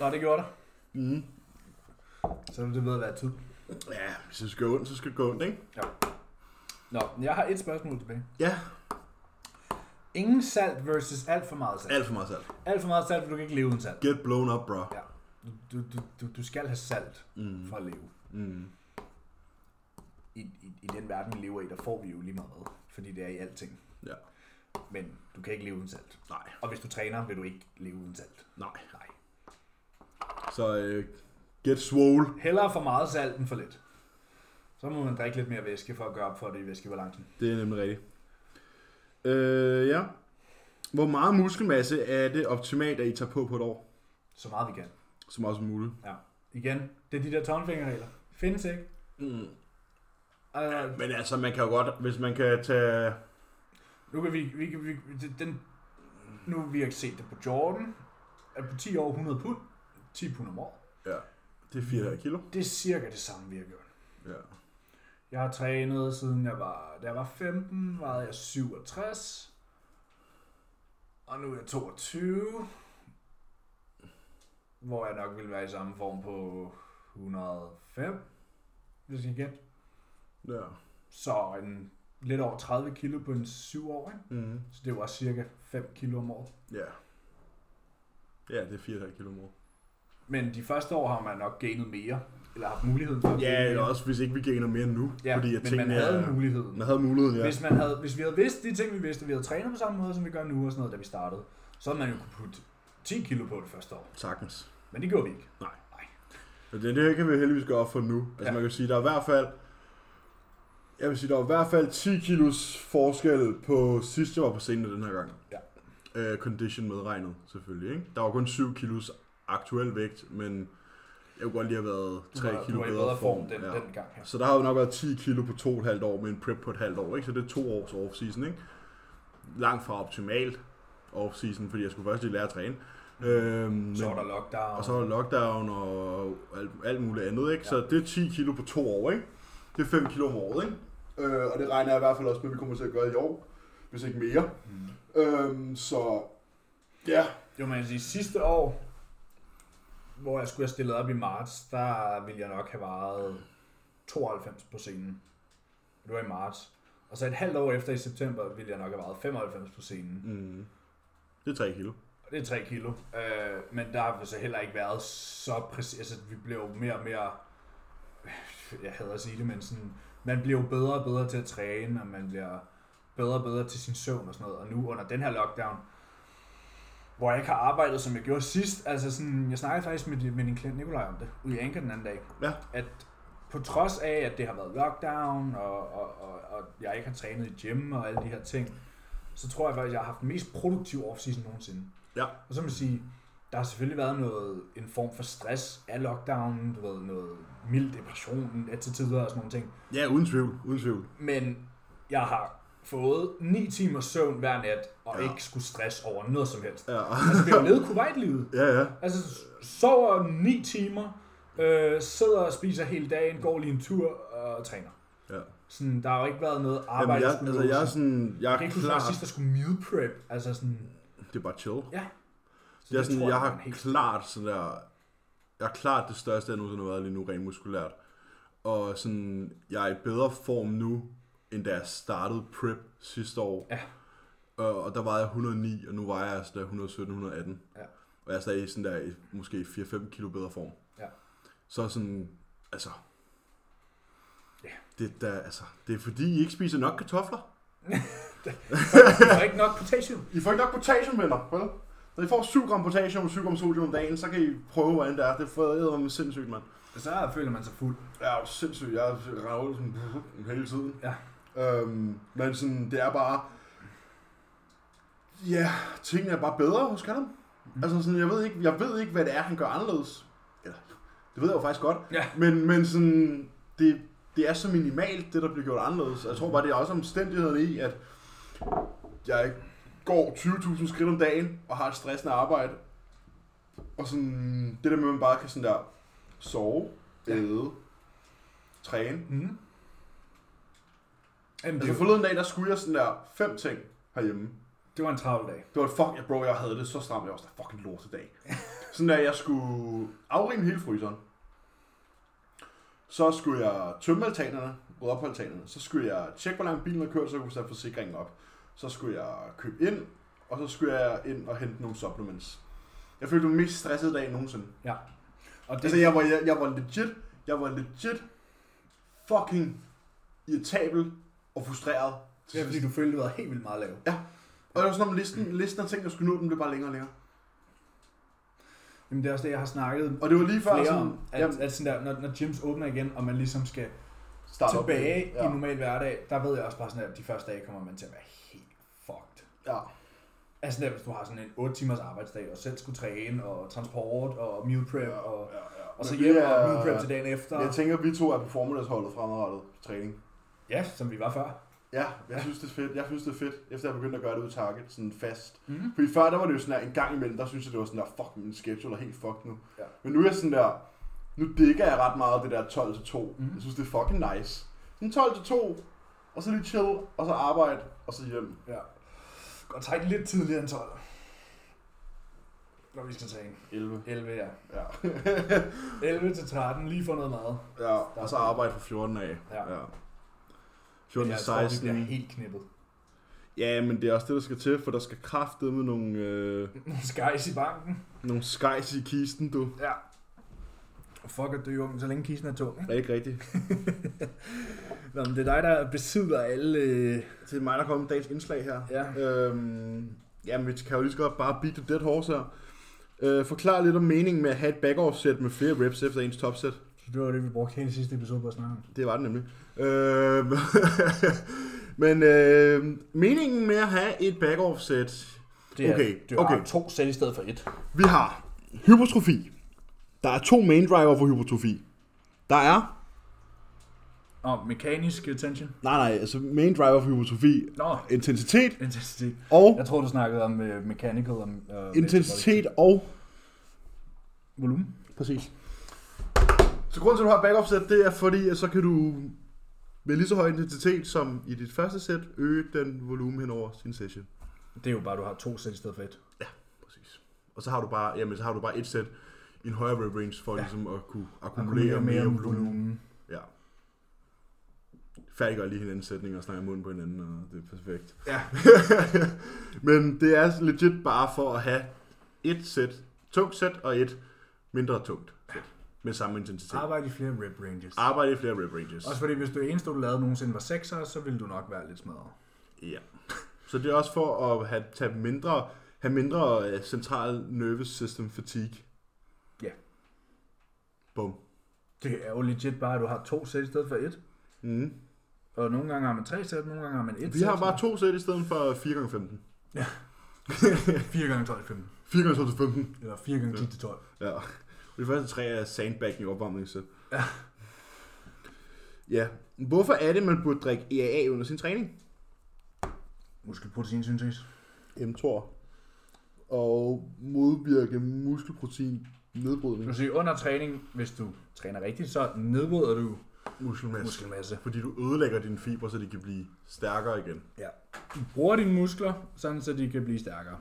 Nå, det gjorde der. Mm. Så er det ved at være tid. Ja, hvis det skal gå ondt, så skal det gå ondt, ikke? Nå, men jeg har et spørgsmål tilbage. Ja, Ingen salt versus alt for meget salt. alt for meget salt. Alt for meget salt, for du kan ikke leve uden salt. Get blown up, bro. Ja. Du, du, du, du skal have salt Mm. for at leve. Mm. I, i, I den verden, vi lever i, der får vi jo lige meget. Fordi det er i alting. Ja. Men du kan ikke leve uden salt. Nej, Og hvis du træner, vil du ikke leve uden salt. nej. Nej. Så øh, get swole. Hellere for meget salt end for lidt. Så må man drikke lidt mere væske for at gøre op for det i væskebalancen. Det er nemlig rigtigt. Øh, ja. Hvor meget muskelmasse er det optimalt, at I tager på på et år? Så meget vi kan. Så meget som muligt. Ja. Igen, det er de der tommelfingerregler. Findes ikke. Mm. Altså, Men altså, man kan jo godt, hvis man kan tage... Nu kan vi, vi, kan- vi det- den, nu har vi ikke set det på Jordan, at på 10 år 100 pund, 10 pund om året. Ja, det er 4,5 kilo. Det er cirka det samme, vi har gjort. Ja. Jeg har trænet siden jeg var, da jeg var 15, var jeg 67, og nu er jeg 22, hvor jeg nok vil være i samme form på 105, hvis jeg gætte. Ja. Så en lidt over 30 kilo på en 7 år, ikke? Mm. så det var cirka 5 kilo om året. ja. Ja, det er 4,5 kilo mor. Men de første år har man nok gainet mere, eller haft muligheden for at gaine Ja, eller mere. også hvis ikke vi gainer mere nu. ja, fordi at men man tingene havde er, muligheden. man havde muligheden, ja. Hvis, man havde, hvis vi havde vidst de ting, vi vidste, og vi havde trænet på samme måde, som vi gør nu og sådan noget, da vi startede, så havde man jo kunne putte 10 kilo på det første år. Sagtens. Men det gjorde vi ikke. Men det, det kan vi heldigvis gøre op for nu. Altså Ja. ja. man kan sige, der er i hvert fald... Jeg vil sige, der er i hvert fald 10 kilos forskel på sidste år på scenen og den her gang. Ja. Øh, condition medregnet, selvfølgelig. Ikke? Der var kun 7 kilos aktuel vægt, men jeg kunne godt lige have været 3 du var, kilo du var i bedre, form. den, ja. den gang her. Så der har jo nok været 10 kilo på to og et halvt år med en prep på et halvt år, ikke? Så det er to års off-season, ikke? Langt fra optimalt off-season, fordi jeg skulle først lige lære at træne. Øhm, Så men- var der lockdown. og så er der lockdown og alt, alt muligt andet, ikke? Ja. Så det er 10 kilo på to år, ikke? Det er 5 kilo om året, ikke? Øh, og det regner jeg i hvert fald også med, at vi kommer til at gøre i år, hvis ikke mere. Mm. Øhm, så ja, Jo, men jeg vil sige, sidste år, hvor jeg skulle have stillet op i marts, der ville jeg nok have varet 92 på scenen. Det var i marts. Og så et halvt år efter i september, ville jeg nok have varet 95 på scenen. mm, det er 3 kilo. Og det er 3 kilo. Øh, men der har vi så heller ikke været så præcis. Altså, vi blev jo mere og mere... Jeg hader at sige det, men sådan... Man bliver jo bedre og bedre til at træne, og man bliver bedre og bedre til sin søvn og sådan noget. Og nu under den her lockdown, hvor jeg ikke har arbejdet, som jeg gjorde sidst. Altså sådan, jeg snakkede faktisk med, med din klient Nikolaj om det, ude i Anker den anden dag. Ja. At på trods af, at det har været lockdown, og, og, og, og jeg ikke har trænet i gym og alle de her ting, så tror jeg faktisk, at jeg har haft den mest produktive offseason nogensinde. Ja. Og så må man sige, der har selvfølgelig været noget, en form for stress af lockdownen, du ved, noget mild depression til tider og sådan nogle ting. Ja, uden tvivl, uden tvivl. Men jeg har fået 9 timer søvn hver nat, og Ja. ja. ikke skulle stress over noget som helst. Ja, Altså, vi har jo levet Kuwait-livet. ja, ja. Altså, sover 9 timer, øh, sidder og spiser hele dagen, går lige en tur og træner. ja. Sådan, der har jo ikke været noget Jamen, arbejde, jeg, der skulle altså, nås. jeg er sådan, jeg Jeg kan er ikke huske, at sidst klart, der skulle meal prep. Altså sådan, det er bare chill. ja. Så Det er sådan, tror jeg var har en helt- klart sådan der, jeg har klart det største, jeg nogensinde har været lige nu, rent muskulært. Og sådan, jeg er i bedre form nu, end da jeg startede prep sidste år. Ja. Og, og der vejede jeg 109, og nu vejer jeg sådan der 117-118. Ja. Og jeg er stadig sådan der, i måske 4-5 kilo bedre form. Ja. Så sådan, altså... Ja. Det, der, altså, det er fordi, I ikke spiser nok kartofler. Der er ikke nok potassium. I får ikke nok potassium, venner. Vel? Når I får 7 gram potassium og 7 gram sodium om dagen, så kan I prøve, hvordan det er. Det får mig sindssygt, mand. Så føler man sig fuld. Ja, det er jo sindssygt. Jeg render ud sådan hele tiden. Ja. Øhm, men sådan, det er bare... Ja, tingene er bare bedre hos Callum. Mm. Altså sådan, jeg ved, ikke, jeg ved ikke, hvad det er, han gør anderledes. Eller, det ved jeg jo faktisk godt. Ja. Men, men sådan, det, det er så minimalt, det der bliver gjort anderledes. Og Jeg tror bare, det er også omstændighederne i, at jeg går 20.000 skridt om dagen og har et stressende arbejde. Og sådan, det der med, at man bare kan sådan der sove, æde, træne. Mm. Jamen, Altså det, forleden dag, der skulle jeg sådan der fem ting herhjemme. det var en travl dag. Det var et fuck, jeg, bro, jeg havde det så stramt, jeg var sådan, fucking lort i dag. sådan der, jeg skulle afrime hele fryseren. Så skulle jeg tømme altanerne, rydde op på altanerne. Så skulle jeg tjekke, hvor langt bilen har kørt, så jeg kunne sætte forsikringen op. Så skulle jeg købe ind, og så skulle jeg ind og hente nogle supplements. Jeg følte den mest stressede dag nogensinde. Og det, Altså, jeg var, jeg, jeg var legit, jeg var legit fucking irritabel og frustreret. Det er fordi, du følte, du var helt vildt meget lav. Og det var sådan, om listen, listen af ting, jeg skulle nå, den blev bare længere og længere. jamen, det er også det, jeg har snakket Og det var lige før, flere sådan, om, at, at sådan der, når, når gyms åbner igen, og man ligesom skal start op. tilbage ja. i ja. en normal hverdag, der ved jeg også bare sådan, at de første dage kommer man til at være helt fucked. ja. Altså sådan, at hvis du har sådan en 8 timers arbejdsdag, og selv skulle træne, og transport, og meal prep, Ja, og, ja, ja. og så Men vi hjem, er- og meal prep til dagen efter. Jeg tænker, vi to er på formiddagsholdet fremadrettet på træning. Ja, som vi var før. Ja, jeg synes, det er fedt. Jeg synes, det er fedt, efter jeg begyndte at gøre det ud i Target, sådan fast. Mm. Fordi før, der var det jo sådan der, en gang imellem, der synes jeg, det var sådan der, fuck, min schedule er helt fucked nu. Ja. Men nu er jeg sådan der, nu digger jeg ret meget det der 12-2. Mhm. Mm. Jeg synes, det er fucking nice. Sådan 12-2, og så lige chill, og så arbejde, og så hjem. Ja. Godt trække lidt tidligere end 12. Når vi skal træne. 11. 11, ja. Ja. 11 til 13, lige for noget mad. ja, og så arbejde for 14 af. Ja. ja. Men 14 jeg til tror, vi 16. bliver helt knippet. Ja, men det er også det, der skal til, for der skal kraftede med nogle, øh, Nogle skejs i banken. nogle skejs i kisten, du. Ja. Og fuck at dø ung, så længe kisten er tung. ikke? Det er ikke rigtigt. Nå, men det er dig, der besidder alle... Øh... Det er mig, der kommer med dagens indslag her. Ja. Øhm, jamen, vi kan jo lige så godt bare beat the dead horse her. Øh, forklar lidt om meningen med at have et back-off-sæt med flere reps efter ens topsæt. Så det var det, vi brugte hele sidste episode på at snakke om. Det var det nemlig. Øh, men øh, meningen med at have et back-off-sæt Det er, Okay, du har okay. to sæt i stedet for et. Vi har hypotrofi. Der er to main driver for hypotrofi. Der er... Og mekanisk tension. Nej, nej, altså main driver for hypotrofi. Nå, Intensitet intensitet. og... Jeg tror, du snakkede om uh, mechanical og... Uh, Intensitet og... Volumen. Præcis. Så grunden til, at du har backup sæt, det er fordi, at så kan du med lige så høj intensitet som i dit første sæt, øge den volumen hen over sin session. Det er jo bare, du har to sæt i stedet for et. Præcis. Og så har du bare, jamen, så har du bare et sæt i en højere rep range for ja. ligesom at kunne akkumulere Akkumulere mere mere volumen. volumen. Ja. Færdiggør lige hinandens sætning og snakker i munden på hinanden, og det er perfekt. Ja. Men det er legit bare for at have et sæt tungt sæt og et mindre tungt sæt med samme intensitet. Arbejde i flere rep ranges. Arbejde i flere rep ranges. Også fordi, hvis du eneste, du lavede nogensinde var 6'er, så ville du nok være lidt smadret. Ja. Så det er også for at have, tage mindre, have mindre øh, central nervous system fatigue. Ja. Bum. Det er jo legit bare, at du har to sæt i stedet for et. Mm. Og nogle gange har man tre sæt, nogle gange har man et Vi sæt. har bare to sæt i stedet for 4x15. 4 gange 12 15. 4x15. Eller 4 gange 10 til 12. Ja. Og de første tre er sandbagging i opvarmningssæt. Ja. Ja. Hvorfor er det, man burde drikke EAA under sin træning? Muskelproteinsyntese. M2. Og modvirke muskelprotein nedbrydning. Du siger, under træning, hvis du træner rigtigt, så nedbryder du Muskelmasse. muskelmasse. Fordi du ødelægger dine fibre, så de kan blive stærkere igen. Ja. Du bruger dine muskler, sådan så de kan blive stærkere.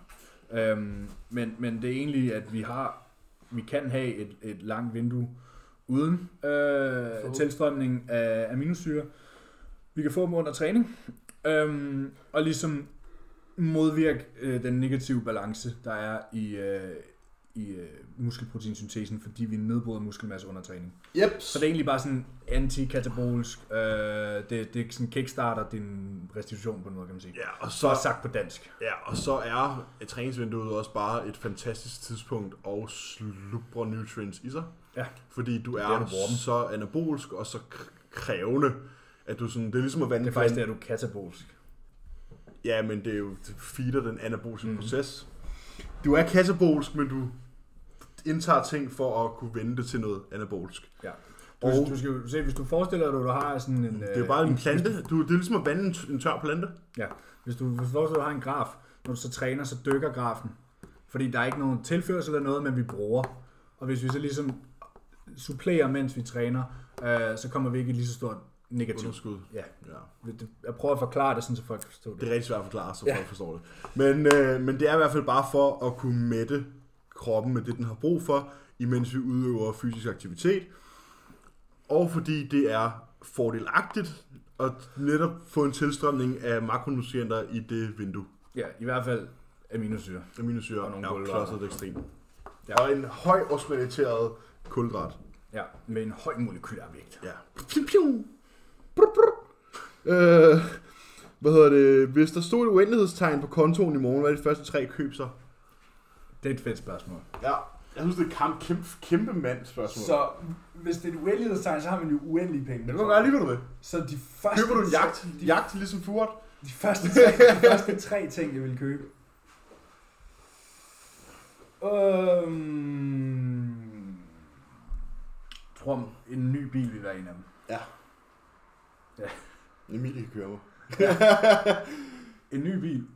Øhm, men, men det er egentlig, at vi har, vi kan have et, et langt vindue uden øh, tilstrømning af aminosyre. Vi kan få dem under træning, øhm, og ligesom modvirke øh, den negative balance, der er i, øh, i øh, muskelproteinsyntesen, fordi vi nedbryder muskelmasse under træning. Yep. Så det er egentlig bare sådan anti-katabolsk. Øh, det, det er sådan kickstarter din restitution på noget, kan man sige. Ja, og Så så, er sagt på dansk. ja, og så er øh, træningsvinduet også bare et fantastisk tidspunkt at slubre nutrients i sig. Ja. Fordi du der, du er bruger dem. så anabolsk og så k- krævende, at du sådan, det er ligesom at vande Det er faktisk det, at du er katabolsk. Ja, men det er jo, det feeder den anaboliske Mhm. mm. proces. Du er katabolsk, men du indtager ting for at kunne vende det til noget anabolsk. Ja. Du, Og og, du skal jo se, hvis du forestiller dig, at du har sådan en... øh, det er jo bare en plante. Du, det er ligesom at vande en, t- en tør plante. Ja, hvis du hvis du forestiller dig, at du har en graf, når du så træner, så dykker grafen. Fordi der er ikke nogen tilførsel eller noget, men vi bruger. Og hvis vi så ligesom supplerer, mens vi træner, øh, så kommer vi ikke i et lige så stort negativt. Underskud. Ja, Ja. jeg prøver at forklare det, sådan, så folk kan forstå det. Det er rigtig svært at forklare, så Ja. folk forstår det. Men, øh, men det er i hvert fald bare for at kunne mætte kroppen med det, den har brug for, imens vi udøver fysisk aktivitet. Og fordi det er fordelagtigt at netop få en tilstrømning af makronutrienter i det vindue. Ja, i hvert fald aminosyre. Aminosyre Og nogle er kulhydrater. klodset ekstremt. Ja. Ja. Og en høj osmaliteret kulhydrat. Ja, med en høj molekylær vægt. Ja. Piu, piu. Brr, brr. Øh, hvad hedder det? Hvis der stod et uendelighedstegn på kontoen i morgen, hvad er de første tre køb så? Det er et fedt spørgsmål. Ja, jeg synes, det er et kamp, kæmpe, kæmpe mand spørgsmål. Så hvis det er et uendelighedstegn, så har man jo uendelige penge. Men du må gøre lige, hvad du vil. Så de første, Køber du en jagt, De, jagt ligesom Furt? de, første, tre, de første tre ting, jeg vil købe. Øhm, Jeg tror, en ny bil vil være en af dem. Emilie kan køre mig. En ny bil?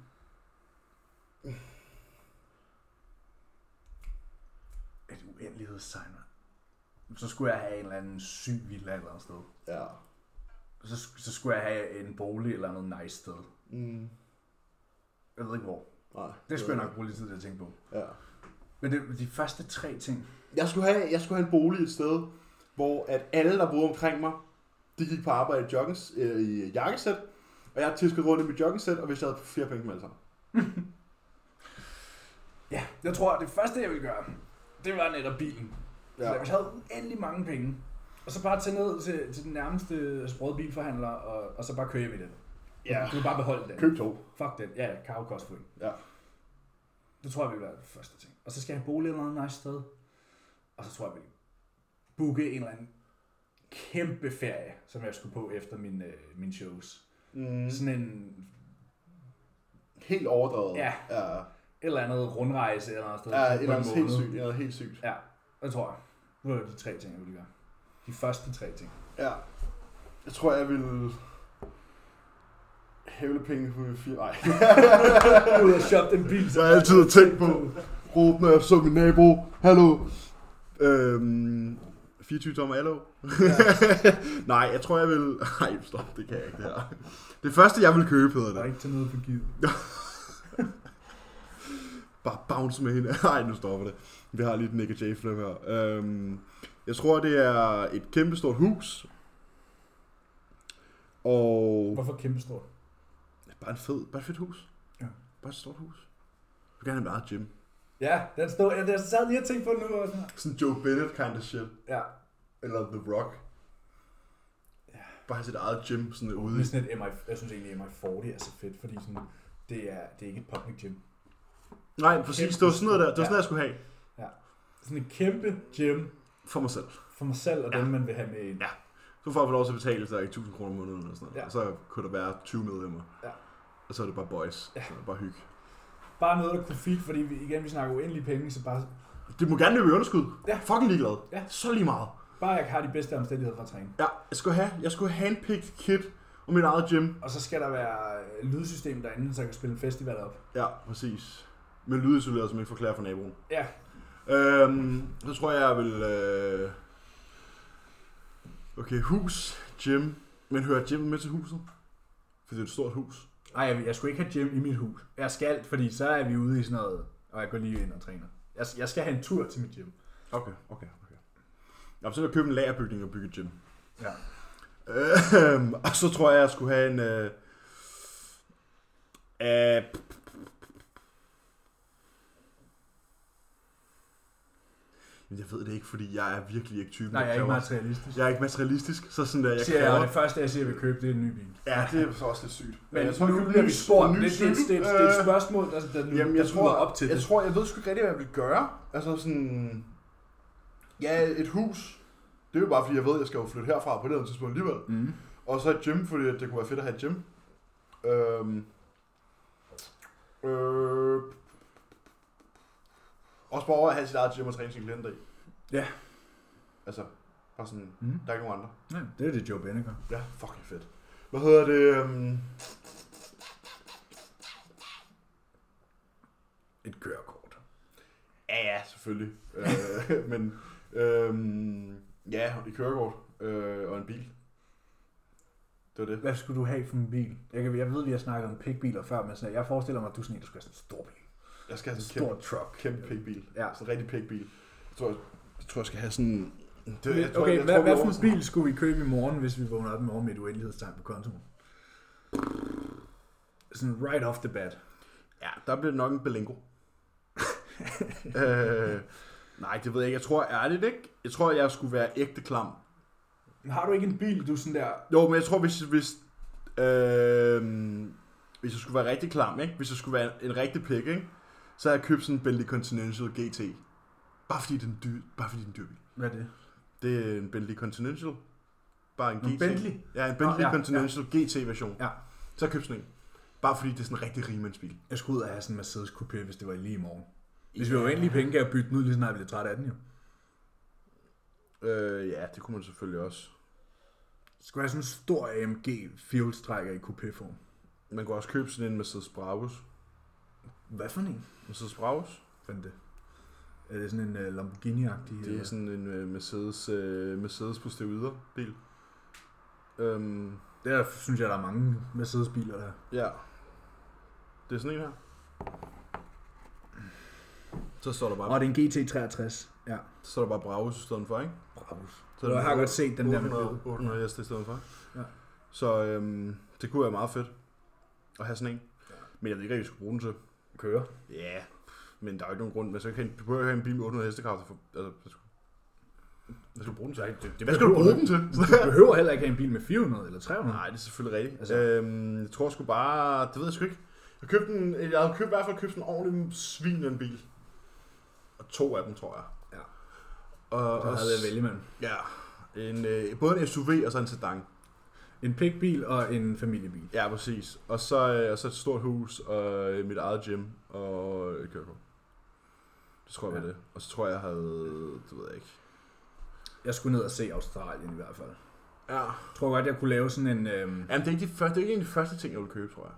Et uendelighedstegn, mand. Så skulle jeg have en eller anden syg villa et eller andet sted. Ja. Så, så skulle jeg have en bolig eller noget nice sted. Mm. Jeg ved ikke hvor. Nej. Det skulle jeg nok bruge lidt tid til at tænke på. Ja. Men det, de første tre ting. Jeg skulle, have, jeg skulle have en bolig et sted, hvor at alle, der boede omkring mig, de gik på arbejde i, joggens, øh, i jakkesæt, og jeg tiskede rundt i mit joggingsæt, og hvis jeg havde flere penge med alle sammen. ja, jeg tror, at det første, jeg vil gøre, det var netop bilen. Ja. Så Ja. hvis jeg havde uendelig mange penge, og så bare tage ned til, til den nærmeste sprøde bilforhandler, og, og så bare købe i den. Ja. Du kan bare beholde den. Køb to. Fuck den. Ja, ja, Karo Kostforening. Ja. Det tror jeg vil være det første ting. Og så skal jeg have bolig eller andet nice sted. Og så tror jeg, jeg vil booke en eller anden kæmpe ferie, som jeg skulle på efter min, øh, mine shows. Mm. Mm. Sådan en Helt overdrevet. Ja. ja. et eller andet rundrejse eller noget sted. Ja, på et eller andet en helt måned. sygt. Et eller andet helt sygt. Ja, det tror jeg. Det var de tre ting, jeg ville gøre. De første tre ting. Ja. Jeg tror, jeg ville... Hævle penge på min fire... Ej. Ud og shoppe den bil. Jeg har altid tænkt på råbe, når jeg så min nabo. Hallo. Øhm, 24 tommer allo. Nej, jeg tror, jeg vil... Nej, stop, det kan jeg ikke, det her. Det første, jeg vil købe, hedder Og det. ikke til noget for givet. Bare bounce med hende. Nej, nu stopper det. Vi har lige et Nick J. Flem her. Øhm, jeg tror, det er et kæmpestort hus. Og... Hvorfor kæmpe stor? Bare en fed, bare et fedt hus. Ja. Bare et stort hus. Jeg vil gerne have mit eget gym. Ja, den stod, jeg, jeg sad lige og tænkte på den nu. Og sådan. Sådan Joe Bennett kind of shit. Ja, Eller The Rock. Ja. Bare have sit eget gym sådan ude. Det i- er sådan et MI, jeg synes egentlig, at MI40 er så fedt, fordi sådan, det, er, det er ikke et public gym. Nej, præcis. Det var sådan noget der. Det var sådan noget, jeg skulle have. Sådan et kæmpe gym For mig selv. for mig selv og ja. Ja. dem, man vil have med ind. Ja. Så får jeg lov til at betale sig 1000 kroner om måneden eller sådan noget. Ja. Ja. Og så kunne der være 20 medlemmer. Ja. Og så er det bare boys. Ja. Ja. Så er det bare hygge. Bare noget, der kunne feed, fordi vi, igen, vi snakker uendelige penge, så bare, Det må gerne løbe i underskud. Ja. Fucking ligeglad. Ja. Så lige meget. bare jeg har de bedste omstændigheder for at træne. Ja, jeg skulle have, jeg skulle have handpicked kit og mit eget gym. Og så skal der være øh, lydsystem derinde, så jeg kan spille en festival op. Ja, præcis. Med lydisoleret, som ikke forklarer for naboen. Ja. Øhm, så tror jeg, jeg vil... Øh... Okay, hus, gym. Men hører gym med til huset? For det er et stort hus. Nej, jeg, jeg skulle ikke have gym i mit hus. Jeg skal, fordi så er vi ude i sådan noget, og jeg går lige ind og træner. Jeg, jeg skal have en tur til mit gym. Okay, okay, okay. Nå, men så vil jeg købe en lagerbygning og bygge et gym. Ja. Øhm, og så tror jeg, jeg skulle have en... Øh... Øh... Men jeg ved det ikke, fordi jeg er virkelig ikke typen, Nej, der jeg er ikke kræver- materialistisk. jeg er ikke materialistisk, så sådan der, jeg siger jeg, og kræver... det første, jeg siger, jeg vil købe, det er en ny bil. Ja, det er så også lidt sygt. Men jeg tror, nu jeg købte bliver en vi ny- spurgt. en ny Det, det, det, det, cykel. det er et Øh, spørgsmål, der, der nu Jamen, jeg der tror, leder op til jeg det. tror, jeg ved sgu ikke rigtig, hvad jeg vil gøre. Altså sådan... Ja, et hus. Det er jo bare, fordi jeg ved, at jeg skal jo flytte herfra på det her tidspunkt alligevel. Mm. Og så et gym, fordi det kunne være fedt at have et gym. Øhm, øh, også bare over at have sit eget gym og træne sin klienter i. Ja. Altså, bare sådan, Mm. der er ikke nogen andre. Ja, det er det, Joe Bennett gør. Ja, fucking fedt. Hvad hedder det? Øhm, Et kørekort. Ja, ja, selvfølgelig. øh, men øhm, ja, et kørekort øh, og en bil. Det var det. Hvad skulle du have for en bil? Jeg, kan, jeg ved, vi har snakket om pikbiler før, men sådan, jeg forestiller mig, at du er sådan en, der skulle have sådan en stor bil. Jeg skal have En sådan en stor kæmpe, truck. kæmpe pikbil. Ja. Sådan en rigtig pikbil. Jeg tror, jeg, jeg, tror, jeg skal have sådan... Det, Okay, jeg tror, okay jeg, jeg hvad, tror, vi hvad er for en over- bil skulle vi købe i morgen, hvis vi vågner op i morgen med et uendelighedstegn på kontoen? Sådan right off the bat. Ja, der bliver det nok en Belingo. øh, nej, det ved jeg ikke. Jeg tror ærligt ikke. Jeg tror, jeg skulle være ægte klam. Men har du ikke en bil, du sådan der... Jo, men jeg tror, hvis, hvis, øh, hvis jeg skulle være rigtig klam, ikke? hvis jeg skulle være en, en rigtig pik, ikke? så havde jeg købt sådan en Bentley Continental GT. Bare fordi det er en dyr, bare fordi det er en dyr bil. Hvad er det? Det er en Bentley Continental. Bare en Nå, GT. Bentley? Ja, en Bentley Nå, ja, ja, Continental ja. GT-version. Ja. Så køb sådan en. Bare fordi det er sådan en rigtig rigmandsbil. Jeg skulle ud og have sådan en Mercedes Coupé, hvis det var lige i morgen. Hvis vi var uendelige penge, kan jeg bytte den ud, lige snart jeg bliver træt af den jo. Øh, ja, det kunne man selvfølgelig også. Så skulle jeg have sådan en stor AMG fieldstrækker i coupéform. Man kunne også købe sådan en Mercedes Bravos. Hvad for en? Mercedes Bravos? Fandt det. Er det sådan en uh, Lamborghini-agtig? Det er eller? sådan en øh, Mercedes, øh, Mercedes på steroider bil. Øhm, Der synes jeg, der er mange Mercedes-biler der. Ja. Det er sådan en her. Så står der bare, Og det er en GT63. Ja. så står der bare Bravos i stedet for, ikke? Bravos. Så Så jeg har godt set den der med 800, blod. 800 heste i stedet for. Ja. Så øhm, det kunne være meget fedt at have sådan en. Men jeg ved ikke, hvad vi skulle bruge den til. Kører. Ja, men der er jo ikke nogen grund. Men så kan du behøver ikke have en bil med 800 hestekræfter. For, altså, hvad skulle, hvad skulle du bruge den til? det, Hvad skal du bruge den til? Du behøver heller ikke have en bil med 400 eller 300. Nej, det er selvfølgelig rigtigt. Altså- Mm. Altså. Øhm, jeg tror sgu bare... Det ved jeg sgu ikke. Jeg, købte en, jeg havde købt, i hvert fald købt en ordentlig svin af en bil. Og to af dem, tror jeg. Ja. Og, Så og havde jeg vælge mellem. Ja. En, øh, både en SUV og så en sedan. En pikbil og en familiebil. Ja, præcis. Og så, øh, og så et stort hus og øh, mit eget gym og øh, et kørekort. Det tror jeg var Ja. det. Og så tror jeg, jeg havde... Det ved jeg ikke. Jeg skulle ned og se Australien i hvert fald. Ja. Jeg tror godt, jeg kunne lave sådan en... Øhm, Jamen, det er ikke, de første, det er ikke en af de første ting, jeg ville købe, tror jeg.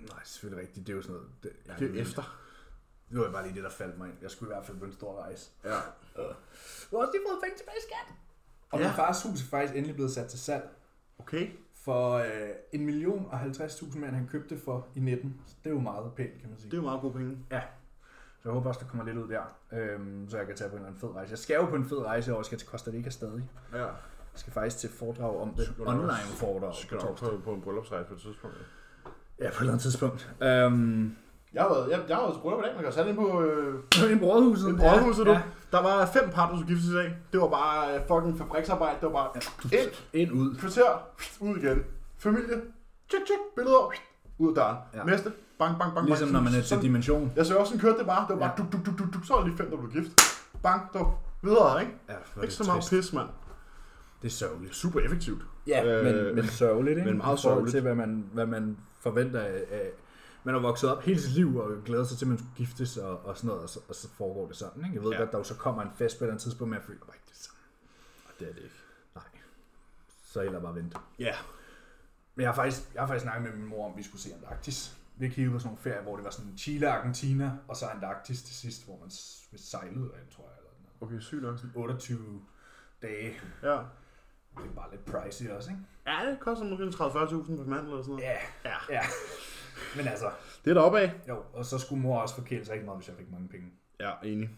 Nej, det er selvfølgelig rigtigt. Det er jo sådan noget... Det, jeg, Det er efter. Det var bare lige det, der faldt mig ind. Jeg skulle i hvert fald på en stor rejse. Ja. Du har også lige fået penge tilbage i skat. Og Ja. min fars hus er faktisk endelig blevet sat til salg Okay. for øh, 1 million og 50.000 mere, end han købte det for i 19. Så det er jo meget pænt, kan man sige. Det er jo meget gode penge. Så jeg håber også, der kommer lidt ud der, øhm, så jeg kan tage på en eller anden fed rejse. Jeg skal jo på en fed rejse, og jeg skal til Costa Rica stadig. Ja. Jeg skal faktisk til foredrag om Skal det. du Online også- foredrag Skal på nok torsdag. på, på en bryllupsrejse på et tidspunkt. Ja, på et eller andet tidspunkt. Øhm, Jeg har været, jeg, jeg har været til bryllup i dag. Man kan sætte ind på øh, I brødhuset. en brødhuset, ja, Ja. du. Der var fem par, der skulle giftes i dag. Det var bare øh, fucking fabriksarbejde. Det var bare ind, Ind ud. kvarter, ud igen. Familie, tjek, tjek, billeder, ud af døren. Ja. Ja. Næste, bang, bang, bang. Ligesom bang. når man er til Sådan- dimension. Jeg så også, sådan kørte det bare. Det var bare Ja. duk, duk, duk, duk, duk. Så var der lige fem, der blev gift. Bang, duk. Videre, ikke? Ja, for Ikke så meget pis, mand. Det er sørgeligt. Super effektivt. Ja, Øh, men, men sørgeligt, ikke? men meget I forhold sørgeligt. til, hvad man, hvad man forventer af- af... Man har vokset op hele sit liv og glæder sig til, at man skulle giftes og, og sådan noget, og så, og så foregår det sådan, ikke? Jeg ved ja. Ja. godt, der jo så kommer en fest på et eller andet tidspunkt, men jeg føler bare ikke det er sådan. Det er det ikke. Nej. Så hellere bare vente. Ja. Men jeg har, faktisk, jeg har faktisk snakket med min mor om, at vi skulle se Antarktis. Vi har kigget på sådan nogle ferier, hvor det var sådan Chile, Argentina, og så Antarktis til sidst, hvor man s- sejlede ind, tror jeg. Eller sådan Okay, sygt nok. noget. 28 dage. Ja. Det er bare lidt pricey også, ikke? Ja, det koster måske en 30-40.000 per mand eller sådan noget. Ja, Ja. ja. Men altså, Det er der opad. jo, og så skulle mor også forkæle sig rigtig meget, hvis jeg fik mange penge. Ja, enig.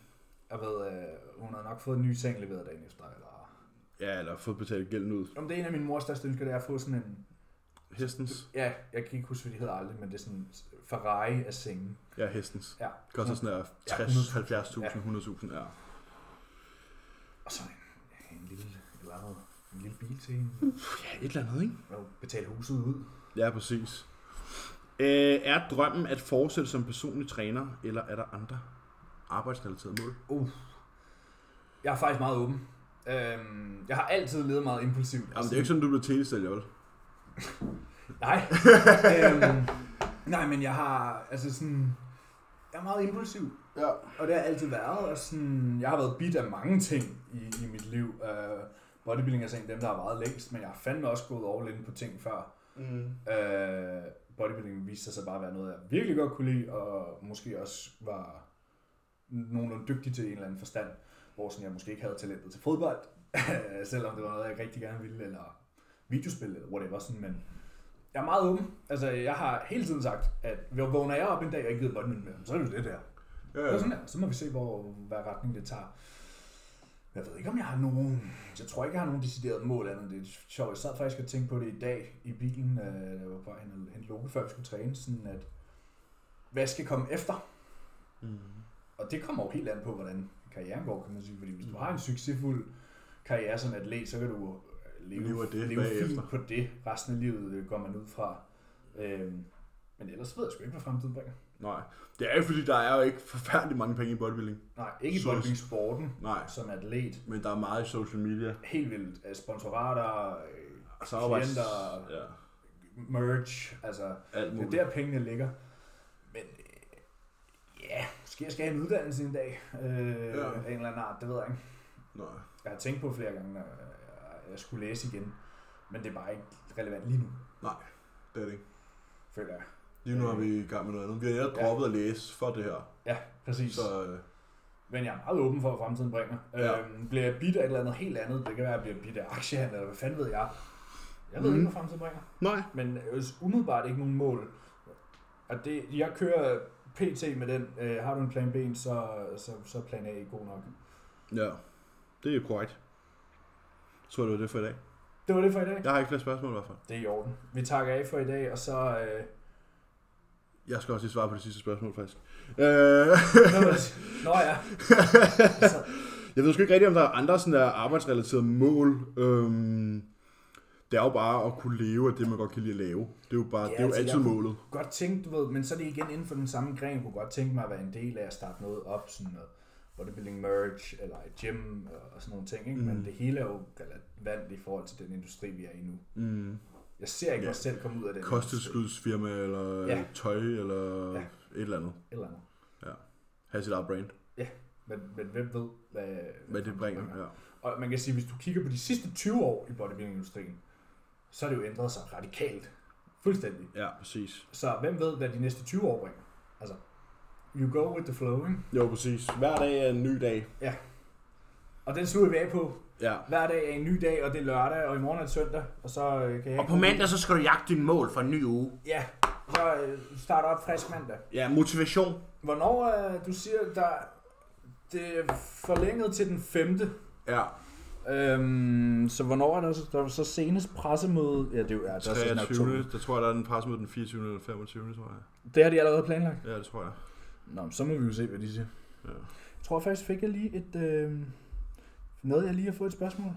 Jeg ved, øh, hun har nok fået en ny seng leveret dagen efter, eller... Ja, eller fået betalt gælden ud. Om det er en af min mors største ønsker, det er at få sådan en Hestens. Ja, jeg kan ikke huske, hvad de hedder aldrig, men det er sådan Ferrari af sengen. Ja, hestens. Ja. Koster sådan der 60, 70.000, 100.000, ja. Og så en, en lille, eller andet, en lille bil til en, Ja, et eller andet, ikke? og betale huset ud. Ja, præcis. Øh, er drømmen at fortsætte som personlig træner, eller er der andre arbejdsrelaterede mål? Uh. Jeg er faktisk meget åben. Øhm, jeg har altid levet meget impulsivt. Jamen, det er jo ikke sådan, du blev telesælger, vel? Nej. øhm, nej, men jeg har, altså sådan, jeg er meget impulsiv. Ja. Og det har jeg altid været, og sådan, jeg har været bit af mange ting i, i mit liv. Uh, bodybuilding er sådan dem, der har været længst, men jeg har fandme også gået all in på ting før. Mm. Uh, bodybuilding viste sig så bare at være noget, jeg virkelig godt kunne lide, og måske også var nogenlunde dygtig til en eller anden forstand, hvor sådan, jeg måske ikke havde talentet til fodbold, selvom det var noget, jeg rigtig gerne ville, eller videospil, eller whatever, sådan, men jeg er meget åben. Altså, jeg har hele tiden sagt, at vågner jeg op en dag og ikke gider bodybuilding mere, så er det jo det der. Ja, Det ja. er sådan her. Så må vi se, hvor, hvad retning det tager. Jeg ved ikke, om jeg har nogen... Jeg tror ikke, jeg har nogen decideret mål andet. Det er sjovt. Jeg sad faktisk og tænkte på det i dag i bilen, øh, da jeg var på vej hen og hente Loke, før vi skulle træne. Sådan at, hvad skal komme efter? Mm. Og det kommer jo helt an på, hvordan karrieren går, kan man sige. Fordi hvis Mm. du har en succesfuld karriere som atlet, så kan du jo leve, Lever det leve fint bagefter. på det. Resten af livet øh, går man ud fra. Øhm, men ellers ved jeg sgu ikke, hvad fremtiden bringer. Nej. Det er jo fordi, der er jo ikke forfærdelig mange penge i bodybuilding. Nej, ikke i Så- bodybuilding-sporten Nej. som atlet. Men der er meget i social media. helt vildt. Øh, Sponsorater, øh, Og så arbejds... Klienter. Ja, merch, altså alt det er muligt. der pengene ligger. Men øh, ja, måske jeg skal have en uddannelse en dag øh, Ja. ja. af en eller anden art, det ved jeg ikke. Nej. Jeg har tænkt på flere gange, at øh, jeg skulle læse igen, men det er bare ikke relevant lige nu, Nej, det er det ikke. føler jeg. Lige nu er vi i gang med noget andet. Vi har netop Ja. droppet at læse for det her. Ja, præcis. Så Så. øh, Men jeg er meget åben for, hvad fremtiden bringer. Ja. Ja. Øhm, bliver jeg bidt af et eller andet helt andet? Det kan være, at jeg bliver bidt af aktiehandel, eller hvad fanden ved jeg? Jeg ved Mhm. mm. ikke, hvad fremtiden bringer. nej. men øh, umiddelbart ikke nogen mål. Og det, jeg kører PT med den. Øh, har du en plan B, så, så, så er plan A er god nok. Ja, det er korrekt. Jeg tror, det var det for i dag. Det var det for i dag. Jeg har ikke flere spørgsmål i hvert fald. Det er i orden. Vi takker af for i dag, og så... Øh, Jeg skal også lige svare på det sidste spørgsmål, faktisk. Øh, nå, nå ja. jeg ved sgu ikke rigtigt, om der er andre sådan der arbejdsrelaterede mål. Øhm, det er jo bare at kunne leve af det, man godt kan lide at lave. Det er jo, bare, Ja, det er jo altså, altid jeg kunne- målet. Godt tænkt, du ved, men så er det igen inden for den samme gren. Jeg kunne godt tænke mig at være en del af at starte noget op, sådan noget bodybuilding merch, eller et gym, og sådan nogle ting. Ikke? Mm. Mm. Men det hele er jo relevant i forhold til den industri, vi er i nu. Mm. Jeg ser ikke Ja. mig selv komme ud af Øh, den industri. Kosttilskudsfirma, eller Ja. tøj, eller Ja. et eller andet. Et Eller andet. Have sit eget brand. Men, men hvem ved, hvad, Hvad det bringer. Ja. Og man kan sige, hvis du kigger på de sidste 20 år i bodybuildingindustrien, så har det jo ændret sig radikalt. Fuldstændig. ja, præcis. Så hvem ved, hvad de næste 20 år bringer? Altså, you go with the flow, ikke? Jo, præcis. Hver dag er en ny dag. Og den slutter vi af på. Ja. Hver dag er en ny dag, og det er lørdag, og i morgen er det søndag, og så øh, kan jeg... Og på mandag, så skal du jagte din mål for en ny uge. Ja, så øh, starter op frisk mandag. Ja, motivation. Hvornår, øh, du siger, der... Det er forlænget til den 5. Ja, Øhm, så hvornår er der så, der er så senest pressemøde? Ja, det er jo ja, der er så sådan 23. Der tror jeg, der er en pressemøde den 24. eller 25. tror jeg. Det har de allerede planlagt. Ja, det tror jeg. Nå, men så må vi jo se, hvad de siger. Ja. Jeg tror faktisk, fik jeg lige et... Øh, noget, jeg lige har fået et spørgsmål.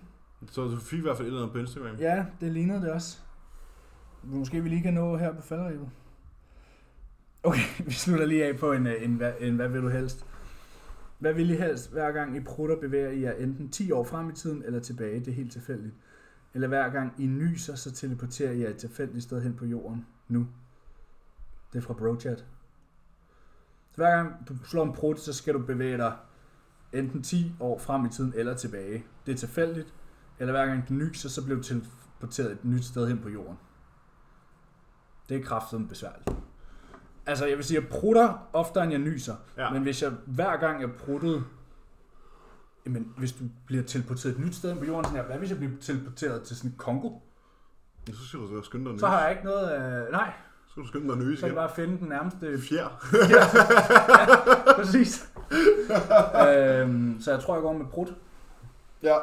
Så du fik i hvert fald et eller andet på Instagram. Ja, det lignede det også. Måske vi lige kan nå her på falderibet. Okay, vi slutter lige af på en, øh, en, en, en hvad vil du helst? Hvad vil I helst? Hver gang I prutter, bevæger I jer enten 10 år frem i tiden eller tilbage. Det er helt tilfældigt. Eller hver gang I nyser, så teleporterer I jer et tilfældigt sted hen på jorden. Nu. Det er fra BroChat. Så hver gang du slår en prut, så skal du bevæge dig enten 10 år frem i tiden eller tilbage. Det er tilfældigt. Eller hver gang den nyser, så blev teleporteret et nyt sted hen på jorden. Det er kraften besværligt. Altså, jeg vil sige, jeg prutter oftere, end jeg nyser. Ja. Men hvis jeg hver gang jeg pruttede... Jamen, hvis du bliver teleporteret et nyt sted hen på jorden, sådan her, hvad hvis jeg bliver teleporteret til sådan Kongo? Ja, så skal du så skynde dig at Så har nyse. jeg ikke noget... Øh, nej, Så skal du skynde dig at nyse så er det igen. bare at finde den nærmeste... Fjer. Præcis. øhm, så jeg tror, jeg går med prut. Ja.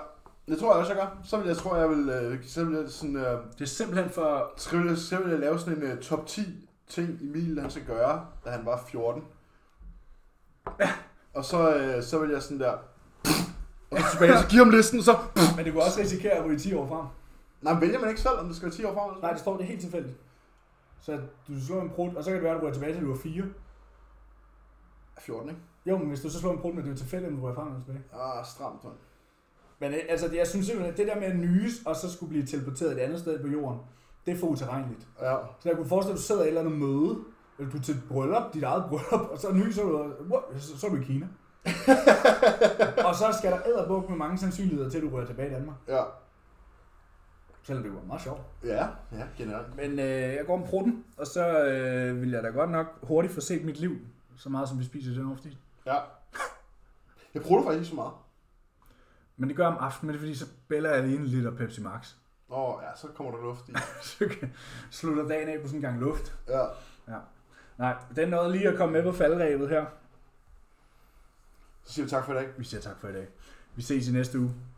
Det tror jeg også, jeg gør. Så vil jeg, tror jeg, vil, øh, så vil jeg sådan, øh, Det er simpelthen for... skrive, så vil jeg lave sådan en øh, top 10 ting, Emil han skal gøre, da han var 14. Og så, øh, så vil jeg sådan der... Og så tilbage, så giver ham listen, og så... Men det kunne også risikere at ryge 10 år frem. Nej, vælger man ikke selv, om det skal være 10 år frem? Nej, det står det helt tilfældigt. Så du slår en prut, og så kan det være, at du ryger tilbage til, du var 4. 14, ikke? Jo, men hvis du så slår en prut, men det er tilfældigt, om du ryger frem eller tilbage. Ah, stramt, mand. Men øh, altså, jeg synes simpelthen, at det der med at nyes, og så skulle blive teleporteret et andet sted på jorden, det er for uterrenligt. Ja. Så jeg kunne forestille, at du sidder i et eller andet møde, eller du er til et bryllup, dit eget bryllup, og så nyser du, og wow, så, så er du i Kina. og så skal der æderbuk med mange sandsynligheder til, at du ryger tilbage i Danmark. Ja. Selvom det var meget sjovt. Ja, ja, generelt. Men øh, jeg går om prutten, og så øh, vil jeg da godt nok hurtigt få set mit liv, så meget som vi spiser i den ofte. Ja. Jeg prøver faktisk ikke så meget. Men det gør jeg om aftenen, men det er fordi, så bæller jeg lige en liter Pepsi Max. Åh, oh, ja, så kommer der luft i. så kan- slutter dagen af på sådan en gang luft. Ja. Nej, den nåede lige at komme med på faldrebet her. Så siger vi tak for i dag. Vi siger tak for i dag. Vi ses i næste uge.